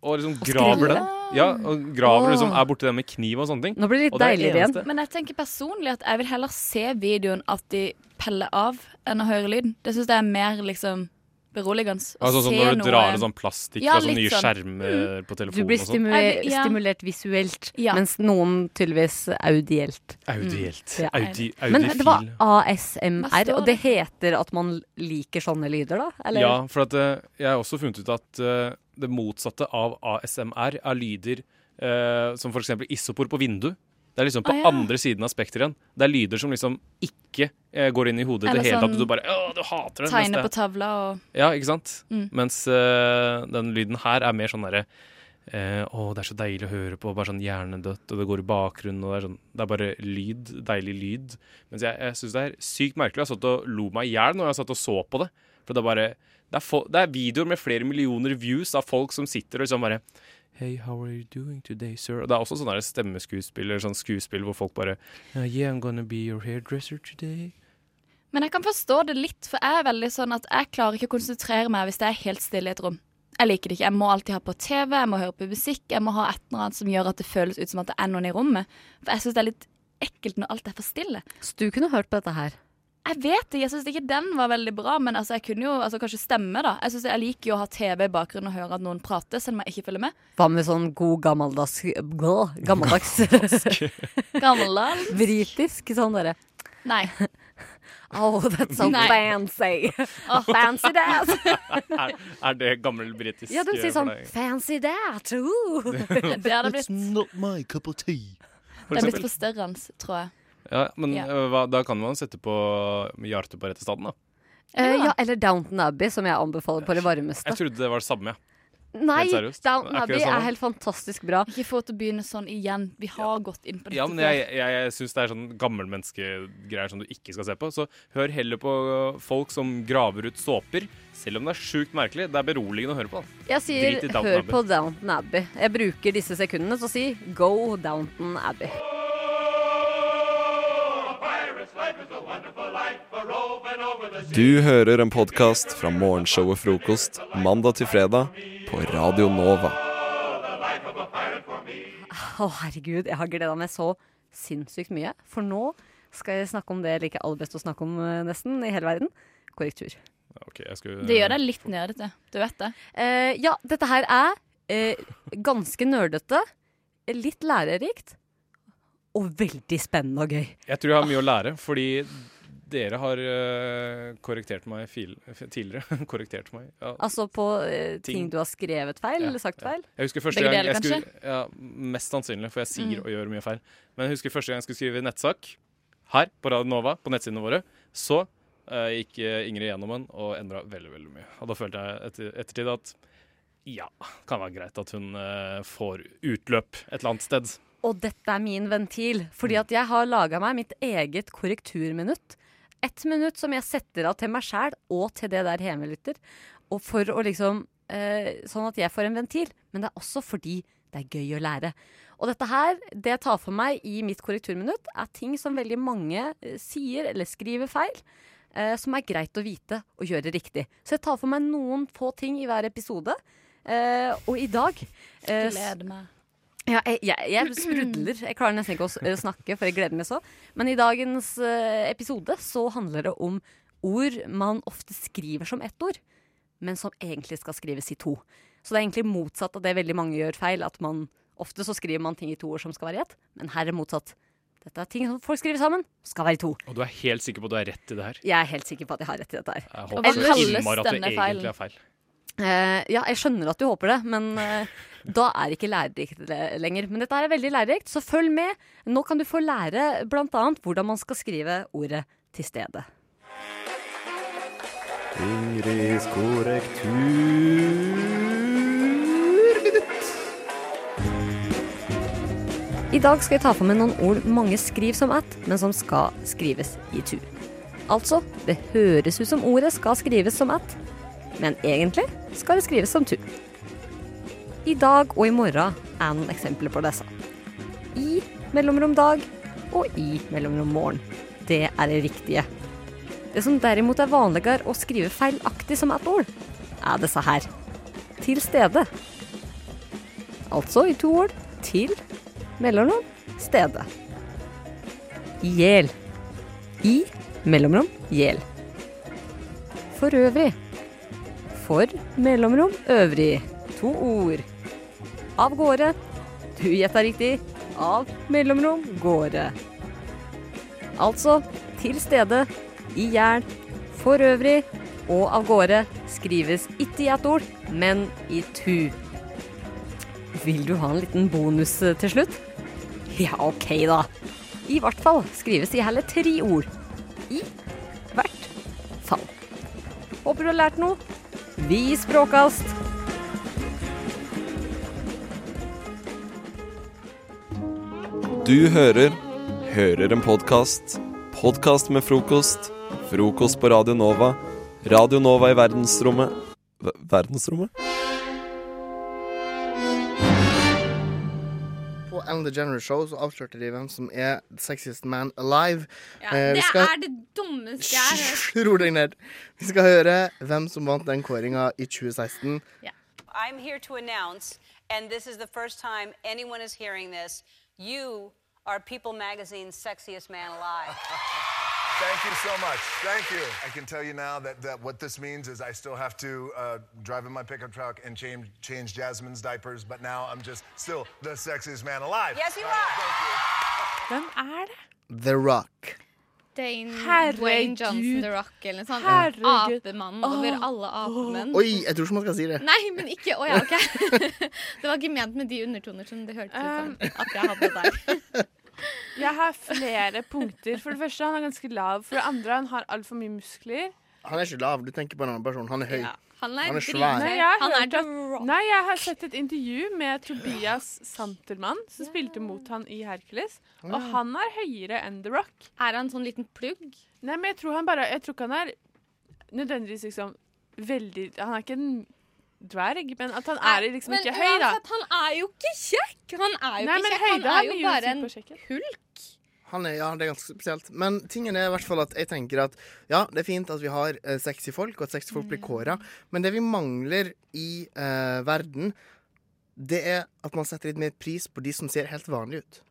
Speaker 11: og liksom graver
Speaker 16: skruller.
Speaker 11: den. Ja, og graver
Speaker 16: Åh.
Speaker 11: liksom, er borti den med kniv og sånne ting.
Speaker 14: Nå blir det litt
Speaker 11: Og er
Speaker 14: deiligere igjen.
Speaker 11: eneste-
Speaker 16: Men jeg tenker personlig at jeg vil heller se videoen at de peller av, enn å høre lyden. Det syns jeg er mer liksom beroligende. å
Speaker 11: Altså, sånn
Speaker 16: se
Speaker 11: når du
Speaker 16: noe-
Speaker 11: drar ned sånn plastikk
Speaker 16: Ja,
Speaker 11: fra sånne nye
Speaker 16: litt sånn.
Speaker 11: skjermer på
Speaker 14: Mm. Du
Speaker 11: telefonen
Speaker 14: blir
Speaker 11: og sånn.
Speaker 14: stimu
Speaker 16: ja.
Speaker 14: Eh, stimulert visuelt, mens noen tydeligvis audielt.
Speaker 11: Audielt.
Speaker 14: Mm. Ja.
Speaker 11: Audi-
Speaker 14: Men det var
Speaker 11: audifil.
Speaker 16: Hva
Speaker 14: ASMR,
Speaker 16: står
Speaker 14: og det heter at man liker sånne lyder, da? Eller?
Speaker 11: Ja, for at, eh, jeg har også funnet ut at eh, det motsatte av ASMR er lyder eh, som f.eks. isopor på vindu. Det er liksom på
Speaker 16: Ah, ja.
Speaker 11: andre siden av spekteret igjen. Det er lyder som liksom ikke eh, går inn i hodet i
Speaker 16: Eller
Speaker 11: det hele tatt.
Speaker 16: sånn
Speaker 11: og Du bare Å, du hater den. mens
Speaker 16: Tegne på
Speaker 11: det-
Speaker 16: tavla og
Speaker 11: Ja, ikke sant?
Speaker 16: Mm.
Speaker 11: Mens eh, den lyden her er mer sånn derre eh, Å, det er så deilig å høre på. Bare sånn hjernedødt, og det går i bakgrunnen. Og det, er sånn, det er bare lyd. Deilig lyd. Mens jeg, jeg syns det er sykt merkelig. Jeg har satt og lo meg i hjel når jeg har satt og så på det. For det er bare det er, fo- det er videoer med flere millioner views av folk som sitter og liksom bare Hey, how are you doing today, sir? Og det er også sånn der stemmeskuespill eller sånn skuespill hvor folk bare «Uh, Yeah, I'm gonna be your hairdresser today.
Speaker 16: Men jeg kan forstå det litt, for jeg er veldig sånn at jeg klarer ikke å konsentrere meg hvis det er helt stille i et rom. Jeg liker det ikke. Jeg må alltid ha på TV, jeg må høre på musikk, jeg må ha et eller annet som gjør at det føles ut som at det er noen i rommet. For jeg syns det er litt ekkelt når alt er for stille.
Speaker 14: Så du kunne hørt på dette her?
Speaker 16: Jeg vet det, jeg syns ikke den var veldig bra, men altså, jeg kunne jo altså, kanskje stemme, da. Jeg, synes jeg liker jo å ha TV i bakgrunnen og høre at noen prater, selv om jeg ikke følger med.
Speaker 14: Hva med sånn god gammeldags blå, Gammeldags
Speaker 16: Gammeldags?
Speaker 14: Britisk, sånn derre
Speaker 16: Nei.
Speaker 14: Oh, that's so
Speaker 16: Nei.
Speaker 14: fancy! Fancy that!
Speaker 11: er, er det gammel britisk?
Speaker 14: altså. Ja, de
Speaker 11: eh,
Speaker 14: sier
Speaker 11: for
Speaker 14: sånn
Speaker 11: deg?
Speaker 14: 'fancy that'! Ooh.
Speaker 16: Det hadde blitt,
Speaker 17: Not my cup of tea.
Speaker 11: For
Speaker 16: det hadde blitt
Speaker 11: eksempel.
Speaker 16: forstørrende, tror jeg.
Speaker 11: Ja, men
Speaker 16: Ja.
Speaker 11: øh, hva, da kan man sette på Jarte på rette staden, da.
Speaker 14: Eh, ja, eller Downton Abbey, som jeg anbefaler på det varmeste.
Speaker 11: Jeg trodde det var det samme, ja.
Speaker 14: Nei,
Speaker 11: Helt seriøst.
Speaker 14: Downton
Speaker 11: Er ikke det
Speaker 14: Abbey
Speaker 11: samme?
Speaker 14: er helt fantastisk bra.
Speaker 16: Ikke få til å begynne sånn igjen. Vi har gått inn på dette
Speaker 11: Ja, men jeg, jeg, jeg syns det er sånn gammelmenneskegreier som du ikke skal se på. Så hør heller på øh, folk som graver ut såper, selv om det er sjukt merkelig. Det er beroligende å høre på. da.
Speaker 14: Jeg sier
Speaker 11: Drit i Downton
Speaker 14: hør
Speaker 11: Abbey.
Speaker 14: på Downton Abbey. Jeg bruker disse sekundene til å si go Downton Abbey.
Speaker 1: Du hører en podkast fra morgenshowet Frokost mandag til fredag på Radio Nova.
Speaker 14: Å, herregud, jeg har gleda meg så sinnssykt mye. For nå skal jeg snakke om det jeg liker aller best å snakke om eh, nesten i hele verden. Korrektur.
Speaker 11: Ok, jeg skulle,
Speaker 16: Det gjør deg litt nerdete. Du vet det.
Speaker 14: Eh, ja, dette her er eh, ganske nerdete, litt lærerikt og veldig spennende og gøy.
Speaker 11: Jeg tror jeg har mye å lære, fordi Dere har eh, korrektert meg fil, tidligere. korrektert meg. Ja.
Speaker 14: Altså på eh, ting. du har skrevet feil eller sagt feil?
Speaker 11: Jeg husker første gang jeg skulle, ja, Mest sannsynlig, for jeg sier og gjør mye feil. Men jeg husker første gang jeg skulle skrive nettsak her på Radio Nova, på nettsidene våre. Så eh, gikk eh, Ingrid gjennom den og endra veldig veldig mye. Og da følte jeg etter, ettertid at ja, kan være greit at hun eh, får utløp et eller annet sted.
Speaker 14: Og dette er min ventil, fordi at jeg har laga meg mitt eget korrekturminutt. Et minutt som jeg setter av til meg sjæl og til det der hjemme, lytter. Og for å liksom eh, Sånn at jeg får en ventil. Men det er også fordi det er gøy å lære. Og dette her, det jeg tar for meg i mitt korrekturminutt, er ting som veldig mange eh, sier eller skriver feil. Eh, som er greit å vite og gjøre riktig. Så jeg tar for meg noen få ting i hver episode. Eh, og i dag eh, s-
Speaker 16: Gleder meg.
Speaker 14: ja, jeg, jeg, jeg sprudler. Jeg klarer nesten ikke å s- å snakke, for jeg gleder meg så. Men i dagens eh, episode så handler det om ord man ofte skriver som ett ord, men som egentlig skal skrives i to. Så det er egentlig motsatt av det veldig mange gjør feil. At man ofte så skriver man ting i to ord som skal være i ett, men her er det motsatt. Dette er ting som folk skriver sammen, skal være i to.
Speaker 11: Og du er helt sikker på at du er rett i det her?
Speaker 14: Jeg er helt sikker på at jeg har rett i dette her.
Speaker 11: Jeg håper så innmari at det egentlig er feil.
Speaker 14: Eh, ja, jeg skjønner at du håper det, men eh, da er det ikke lærerikt le- lenger. Men dette her er veldig lærerikt, så følg med. Nå kan du få lære bl.a. hvordan man skal skrive ordet til stedet.
Speaker 18: Ingrids korrekturminutt.
Speaker 14: I dag skal jeg ta for meg noen ord mange skriver som at, men som skal skrives i tu. Altså, det høres ut som ordet skal skrives som at, men egentlig skal det skrives som tu. I dag og i morgen er noen eksempler på disse. I mellomrom dag og i mellomrom morgen. Det er det riktige. Det som derimot er vanligere å skrive feilaktig som et ord, er disse her. Til stede. Altså i to ord til mellomrom stedet. Gjel. I mellomrom gjel. For øvrig. For mellomrom øvrig. To ord. Av gårde. Du gjetta riktig. Av mellomrom gårde. Altså til stede, i gjel, for øvrig og av gårde skrives ikke i ett ord, men i tu. Vil du ha en liten bonus eh, til slutt? Ja, OK, da. I hvert fall skrives i heller tre ord. I hvert fall. Håper du har lært noe. Vi i Språkast!
Speaker 1: Du hører Hører en podkast. Podkast med frokost. Frokost på Radio Nova. Radio Nova i verdensrommet Ver- Verdensrommet?
Speaker 19: På Ellen DeGeneres Show så avslørte de hvem som er the sexiest man alive. Eh, vi
Speaker 20: det
Speaker 19: skal-
Speaker 20: er det dummeste jeg har hørt.
Speaker 19: Ro deg ned. Vi skal høre hvem som vant den kåringa i 2016.
Speaker 21: I'm here to announce, and this is the first time anyone is hearing this, you are People Magazine's sexiest man alive.
Speaker 22: Thank you so much. Thank you. I can tell you now that, that what this means is I still have to uh, drive in my pickup truck and change, change Jasmine's diapers, but now I'm just still the sexiest man alive.
Speaker 21: Yes, you
Speaker 22: Uh,
Speaker 21: are.
Speaker 20: Hvem er det?
Speaker 19: The Rock.
Speaker 20: Dane,
Speaker 23: Herregud.
Speaker 20: Dwayne Johnson The Rock eller noe sånt.
Speaker 23: Herregud.
Speaker 20: Apemannen over
Speaker 23: Åh.
Speaker 20: alle apemenn.
Speaker 19: Oi, jeg tror ikke man skal si det.
Speaker 20: Mm. Nei, men ikke Å ja, OK. Det var ikke ment med de undertoner som det hørtes ut som at jeg hadde der.
Speaker 23: Jeg har flere punkter. For det første, han er ganske lav. For det andre, han har altfor mye muskler.
Speaker 19: Han er ikke lav, du tenker på en annen person. Han er høy.
Speaker 23: Han
Speaker 19: er Han er svær. drithøy.
Speaker 23: han er The Rock. Nei, jeg har sett et intervju med Tobias Santelmann, som spilte mot han i Hercules. Og
Speaker 20: Ja.
Speaker 23: han er høyere enn The Rock.
Speaker 20: Er han sånn liten plugg?
Speaker 23: Nei, men jeg tror han bare Jeg tror ikke han er nødvendigvis liksom veldig Han er ikke en dverg, men at han er liksom
Speaker 20: Men
Speaker 23: ikke høy, da.
Speaker 20: uansett, han er jo ikke kjekk! Han er jo ikke
Speaker 23: Nei, men
Speaker 20: kjekk.
Speaker 23: høyde
Speaker 20: Han
Speaker 23: har
Speaker 20: er jo
Speaker 23: mye å si
Speaker 20: bare en
Speaker 23: på
Speaker 20: hulk.
Speaker 19: Han er, ja, det er ganske spesielt. Men tingen er i hvert fall at jeg tenker at ja, det er fint at vi har eh, sexy folk, og at sexy folk blir
Speaker 20: Mm.
Speaker 19: kåra, men det vi mangler i eh, verden, det er at man setter litt mer pris på de som ser helt vanlige ut.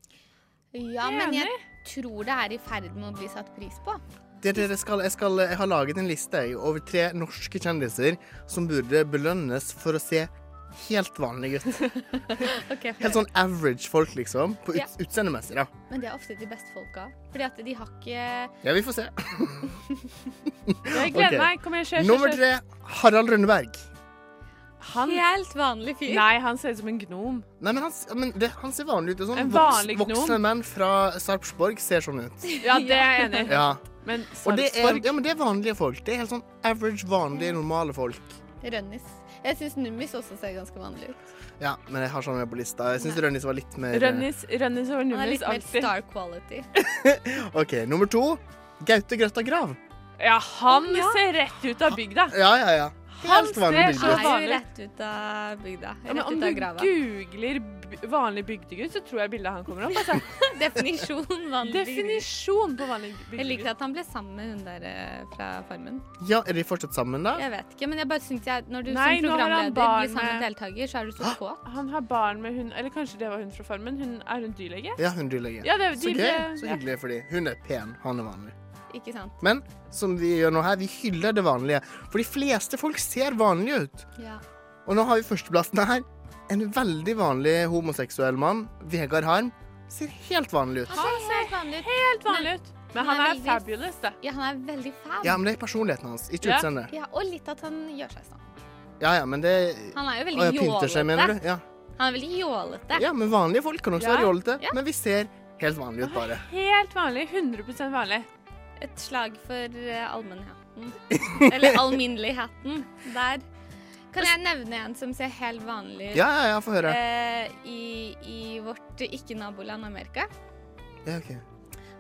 Speaker 20: Ja, men jeg tror det er i ferd med å bli satt pris på.
Speaker 19: Det er det det skal, jeg, skal, jeg har laget en liste jeg, over tre norske kjendiser som burde belønnes for å se helt vanlig gutt.
Speaker 20: Ok,
Speaker 19: Helt sånn average folk, liksom. På ut
Speaker 20: Ja.
Speaker 19: utseendemessig, da.
Speaker 20: Men det er ofte de beste folka. Fordi at de har ikke
Speaker 19: Ja, vi får se.
Speaker 20: Jeg
Speaker 19: gleder Ok. meg. Kom igjen, kjør, kjør, Nummer kjør. tre. Harald Rønneberg.
Speaker 20: Helt vanlig fyr.
Speaker 23: Nei, han ser ut som en gnom.
Speaker 19: Nei, men han, s- men det, han ser vanlig ut. Det er Sånn
Speaker 23: En
Speaker 19: voks,
Speaker 23: vanlig gnom.
Speaker 19: voksne menn fra Sarpsborg ser sånn ut.
Speaker 23: Ja, det er jeg enig i.
Speaker 19: Ja.
Speaker 23: Men
Speaker 19: Og det er,
Speaker 23: Sarpsborg
Speaker 19: ja, men det er vanlige folk. Det er helt sånn average, vanlige, normale folk.
Speaker 20: Rønnis. Jeg syns Nummis også ser ganske vanlig ut.
Speaker 19: Ja, men jeg har sånn med på lista. Jeg syns Rønnis var litt mer
Speaker 23: Rønnis, Rønnis over
Speaker 20: Han er
Speaker 23: Numis
Speaker 20: litt mer
Speaker 23: alltid.
Speaker 20: star quality.
Speaker 19: OK, nummer to. Gaute Grøtta Grav.
Speaker 23: Ja, han ser rett ut av bygda.
Speaker 19: Ja, ja, ja.
Speaker 23: Han
Speaker 19: Helt vanlig
Speaker 23: ser
Speaker 19: bygdegutt.
Speaker 23: så
Speaker 20: Han er jo
Speaker 23: vanlig
Speaker 20: rett ut av bygda.
Speaker 23: Ja, men
Speaker 20: Rett
Speaker 23: om
Speaker 20: ut
Speaker 23: du
Speaker 20: av grava.
Speaker 23: googler b- vanlig bygdegutt, så tror jeg bildet han kommer opp. Altså.
Speaker 20: Definisjon vanlig
Speaker 23: Definisjon på vanlig bygdegutt.
Speaker 20: Jeg liker at han ble sammen med hun der eh, fra Farmen.
Speaker 19: Ja, er de fortsatt sammen, da?
Speaker 20: Jeg vet ikke, men jeg bare syns jeg Når du
Speaker 23: Nei,
Speaker 20: som
Speaker 23: nå har han
Speaker 20: programleder blir
Speaker 23: barn
Speaker 20: sammen med
Speaker 23: med-
Speaker 20: deltaker, så er du så kåt.
Speaker 23: Han har barn med hun Eller kanskje det var hun fra Farmen? Hun, er hun dyrlege?
Speaker 19: Ja, hun dyrlege.
Speaker 23: Ja, det,
Speaker 19: så
Speaker 23: de
Speaker 19: gøy.
Speaker 23: ble-
Speaker 19: Så
Speaker 23: ja.
Speaker 19: hyggelig for de. Hun er pen, han er vanlig.
Speaker 20: Ikke sant?
Speaker 19: Men som vi gjør nå her, vi hyller det vanlige. For de fleste folk ser vanlige ut.
Speaker 20: Ja.
Speaker 19: Og nå har vi førsteplassen her. En veldig vanlig homoseksuell mann, Vegard Harm, ser helt vanlig ut.
Speaker 20: Han ser helt vanlig ut.
Speaker 23: Helt vanlig ut. Men han er
Speaker 20: veldig-
Speaker 23: fabulous, da.
Speaker 20: Ja, han er veldig fab.
Speaker 19: Ja, men det er personligheten hans, ikke
Speaker 20: Ja.
Speaker 19: utseendet.
Speaker 20: Ja, og litt at han gjør seg sånn.
Speaker 19: Ja, ja, men det
Speaker 20: Han er jo veldig
Speaker 19: Å, ja, pynter seg, mener
Speaker 20: jålete.
Speaker 19: du? Ja.
Speaker 20: Han er veldig jålete.
Speaker 19: ja, men vanlige folk kan også
Speaker 20: Ja.
Speaker 19: være jålete.
Speaker 20: Ja.
Speaker 19: Men vi ser helt vanlige ut, bare.
Speaker 23: Helt vanlig. 100 vanlig.
Speaker 20: Et slag for eh, allmennheten. Eller alminneligheten. Der. Kan jeg nevne en som ser helt vanlig ut
Speaker 19: Ja, ja, ja, få høre.
Speaker 20: eh, i, i vårt ikke-naboland Amerika?
Speaker 19: Ja, ok.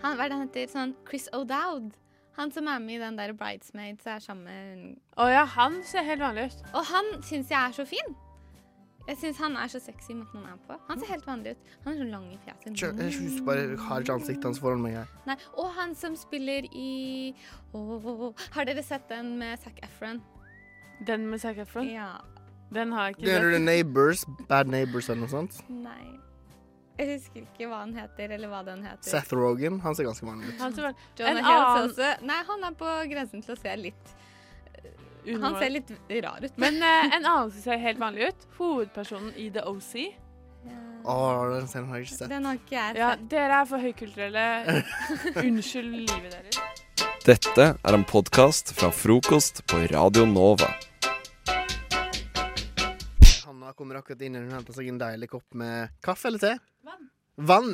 Speaker 20: Han, hva er det han heter? Sånn Chris O'Dowd. Han som er med i den der Bridesmaids er sammen med
Speaker 23: Å ja, han ser helt vanlig ut.
Speaker 20: Og han syns jeg er så fin. Jeg syns han er så sexy i måten han er på.
Speaker 23: Mm.
Speaker 20: Han ser helt vanlig ut. Han er så lang i fjeset.
Speaker 19: Kjør, jeg husker bare jeg har ikke ansiktet hans foran meg her.
Speaker 20: Nei, og han som spiller i Åh, Har dere sett den med Zac Efron?
Speaker 23: Den med Zac Efron?
Speaker 20: Ja.
Speaker 23: Den har jeg ikke
Speaker 19: Det er
Speaker 23: sett.
Speaker 19: The Neighbors, Bad Neighbors eller noe sånt.
Speaker 20: Nei. Jeg husker ikke hva han heter, eller hva den heter.
Speaker 19: Seth Rogan, han ser ganske vanlig ut.
Speaker 23: Han ser bare-
Speaker 20: Jonah
Speaker 23: En
Speaker 20: Hill
Speaker 23: annen-
Speaker 20: også. Nei, han er på grensen til å se litt
Speaker 23: Unormal.
Speaker 20: Han ser litt rar ut.
Speaker 23: Men eh, en annen som ser helt vanlig ut, hovedpersonen i The OC.
Speaker 19: Å, den serien har jeg ikke sett.
Speaker 20: Den har ikke jeg
Speaker 23: Ja, dere er for høykulturelle. Unnskyld livet deres.
Speaker 1: Dette er en podkast fra frokost på Radio Nova.
Speaker 19: Hanna kommer akkurat inn og hun henter seg en deilig kopp med kaffe eller te. Vann.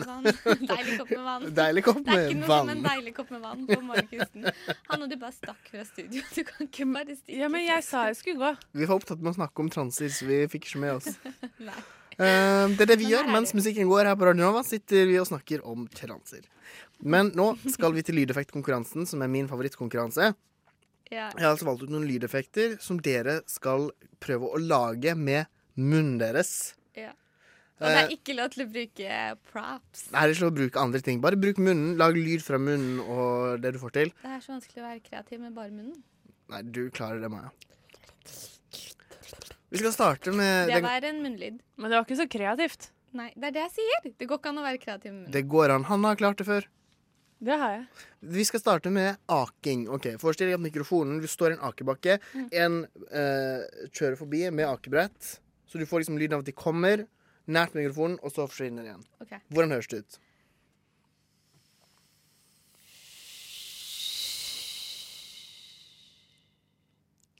Speaker 20: Vann. Deilig kopp med vann.
Speaker 19: Deilig kopp
Speaker 20: det er ikke
Speaker 19: med
Speaker 20: noe som
Speaker 19: vann.
Speaker 20: en deilig kopp med vann på morgenkvisten. Han og du bare stakk fra studio. Du kan ikke bare stikke.
Speaker 23: Ja, men jeg sa jeg skulle gå.
Speaker 19: Vi var opptatt med å snakke om transer, så vi fikk ikke med oss.
Speaker 20: Nei.
Speaker 19: Eh, det er det vi gjør mens musikken går her på Radio Nova. Sitter vi og snakker om transer. Men nå skal vi til lydeffektkonkurransen, som er min favorittkonkurranse.
Speaker 20: Ja.
Speaker 19: Jeg har altså valgt ut noen lydeffekter som dere skal prøve å lage med munnen deres.
Speaker 20: Ja. Og det er
Speaker 19: Eh,
Speaker 20: ikke lov til å bruke props.
Speaker 19: Nei, det er ikke lov å bruke andre ting. Bare bruk munnen. Lag lyd fra munnen og det du får til.
Speaker 20: Det er så vanskelig å være kreativ med bare munnen.
Speaker 19: Nei, du klarer det, Maja. Vi skal starte med
Speaker 20: Det
Speaker 19: den-
Speaker 20: var en munnlyd.
Speaker 23: Men det var ikke så kreativt.
Speaker 20: Nei, det er det jeg sier. Det går ikke an å være kreativ med munnen.
Speaker 19: Det går an. Han har klart det før.
Speaker 23: Det har jeg.
Speaker 19: Vi skal starte med aking. Ok, Forestill deg at mikrofonen Du står i en akebakke.
Speaker 20: Mm.
Speaker 19: En eh, kjører forbi med akebrett, så du får liksom lyden av at de kommer nært mikrofonen, og så forsvinner igjen.
Speaker 20: Ok.
Speaker 19: Hvordan høres det ut?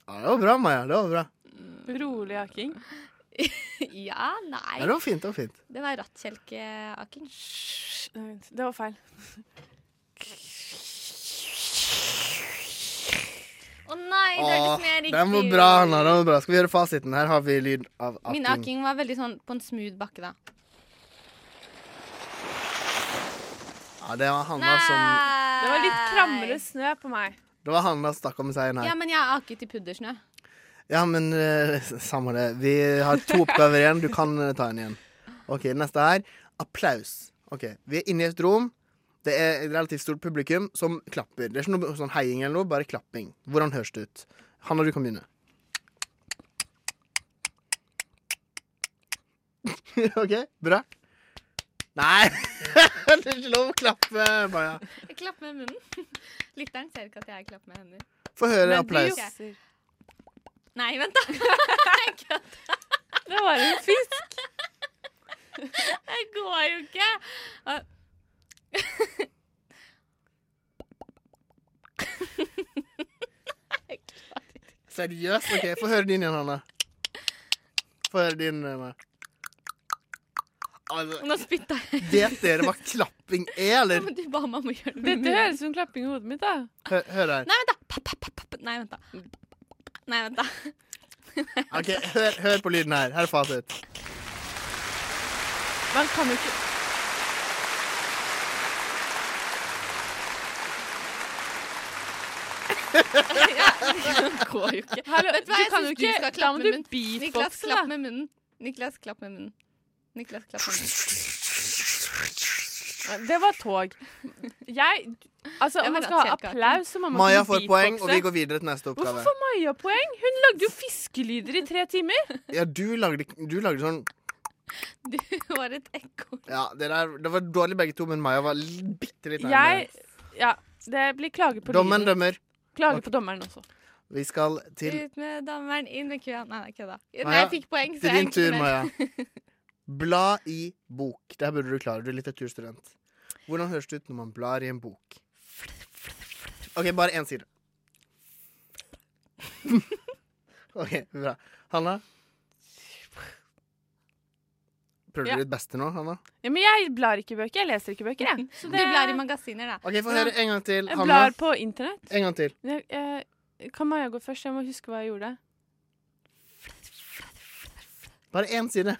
Speaker 19: Ja, det var bra, Maja. Det var bra.
Speaker 23: Rolig aking.
Speaker 20: ja, nei.
Speaker 19: Ja, det var fint. det var fint
Speaker 20: Det var rattkjelkeaking.
Speaker 23: Nei, vent, Det var feil.
Speaker 20: Å nei, det
Speaker 19: Åh,
Speaker 20: hørtes mer riktig
Speaker 19: den var bra, Hanna. Den var bra. Skal vi gjøre fasiten? Her har vi lyd av aking.
Speaker 20: Min aking var veldig sånn på en smooth bakke, da.
Speaker 19: Ja, det var Hanna som
Speaker 23: Det var litt krammere snø på meg.
Speaker 19: Det var Hanna som stakk av med seieren her.
Speaker 20: Ja, men jeg har aket i puddersnø.
Speaker 19: Ja, men eh, samme det. Vi har to oppgaver igjen. Du kan eh, ta en igjen. OK, neste her. Applaus. OK. Vi er inne i et rom. Det er et relativt stort publikum som klapper. Det er ikke noe sånn heiing eller noe, bare klapping. Hvordan høres det ut? Hanna, du kan begynne. OK, bra. Nei! det er ikke lov å klappe, Maja.
Speaker 20: Jeg klapper med munnen. Lytteren ser ikke at jeg klapper med hender.
Speaker 19: Få høre applaus.
Speaker 20: Nei, vent, da.
Speaker 23: Det var en fisk.
Speaker 20: Det går jo ikke. Ah.
Speaker 19: Seriøst? OK, få høre din igjen, Hanne. Få høre din. Hanne. Altså,
Speaker 20: Nå spytta jeg.
Speaker 19: Det dere hva klapping er, eller?
Speaker 20: Men du ba meg om å gjøre det.
Speaker 19: Dette høres
Speaker 23: som klapping i hodet mitt, da.
Speaker 19: Hør, hør her.
Speaker 20: Nei, vent, da. Pa, pa, pa, pa, pa. Nei, vent, da. Nei, vent, da.
Speaker 19: OK, hør, hør på lyden her. Her er fasit.
Speaker 23: Man kan jo ikke
Speaker 20: ja, det går jo ikke.
Speaker 23: Hallo,
Speaker 20: Vet hva,
Speaker 23: du
Speaker 20: jeg
Speaker 23: kan
Speaker 20: synes
Speaker 23: jo ikke-
Speaker 20: skal
Speaker 23: da
Speaker 20: klappe
Speaker 23: må
Speaker 20: med
Speaker 23: du
Speaker 20: munnen.
Speaker 23: beatboxe,
Speaker 20: Niklas,
Speaker 23: da.
Speaker 20: klapp med munnen. Niklas, klapp med munnen. Niklas, klapp med munnen.
Speaker 23: Det var tog. Jeg Altså,
Speaker 20: Det
Speaker 23: om
Speaker 20: var
Speaker 23: man skal ha
Speaker 20: rett kjelke.
Speaker 23: applaus, så må man
Speaker 19: Maja
Speaker 23: kunne
Speaker 19: får poeng, og
Speaker 23: beatboxe.
Speaker 19: vi går videre til neste
Speaker 23: Hvorfor
Speaker 19: oppgave.
Speaker 23: får Maja poeng? Hun lagde jo fiskelyder i tre timer.
Speaker 19: Ja, du lagde, du lagde sånn
Speaker 20: Du var et ekko.
Speaker 19: Ja, det, der, det var dårlig begge to, men Maja var l- bitte litt nærmere.
Speaker 23: Jeg Ja. Det blir klage på
Speaker 19: Dommeren
Speaker 23: lyden.
Speaker 19: dømmer.
Speaker 23: Klage på dommeren også.
Speaker 19: Vi skal til
Speaker 20: Ut med dammeren, inn med kua. Nei, nei, kødda. Nei,
Speaker 19: Maja,
Speaker 20: jeg fikk poeng, så
Speaker 19: Det er
Speaker 20: jeg
Speaker 19: din tur,
Speaker 20: er
Speaker 19: Maja.
Speaker 20: ikke
Speaker 19: Bla i bok. Det her burde du klare. Du er litteraturstudent. Hvordan høres det ut når man blar i en bok? OK, bare én side. OK, bra. Hanna? Prøvde
Speaker 23: Ja.
Speaker 19: du ditt beste nå, Hanna?
Speaker 23: Ja, men jeg blar ikke i bøker. Jeg leser ikke bøker, jeg. Så
Speaker 20: Du blar i magasiner, da.
Speaker 19: OK, få høre en gang til.
Speaker 23: Jeg
Speaker 19: Hanna.
Speaker 23: blar på internett.
Speaker 19: En gang til.
Speaker 23: Jeg, jeg, kan Maja gå først? Jeg må huske hva jeg gjorde.
Speaker 19: Bare én side.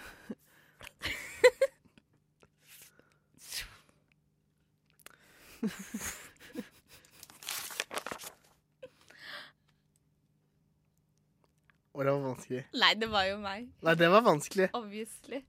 Speaker 19: Å, det var vanskelig.
Speaker 20: Nei, det var jo meg.
Speaker 19: Nei, det var vanskelig.
Speaker 20: Obviously.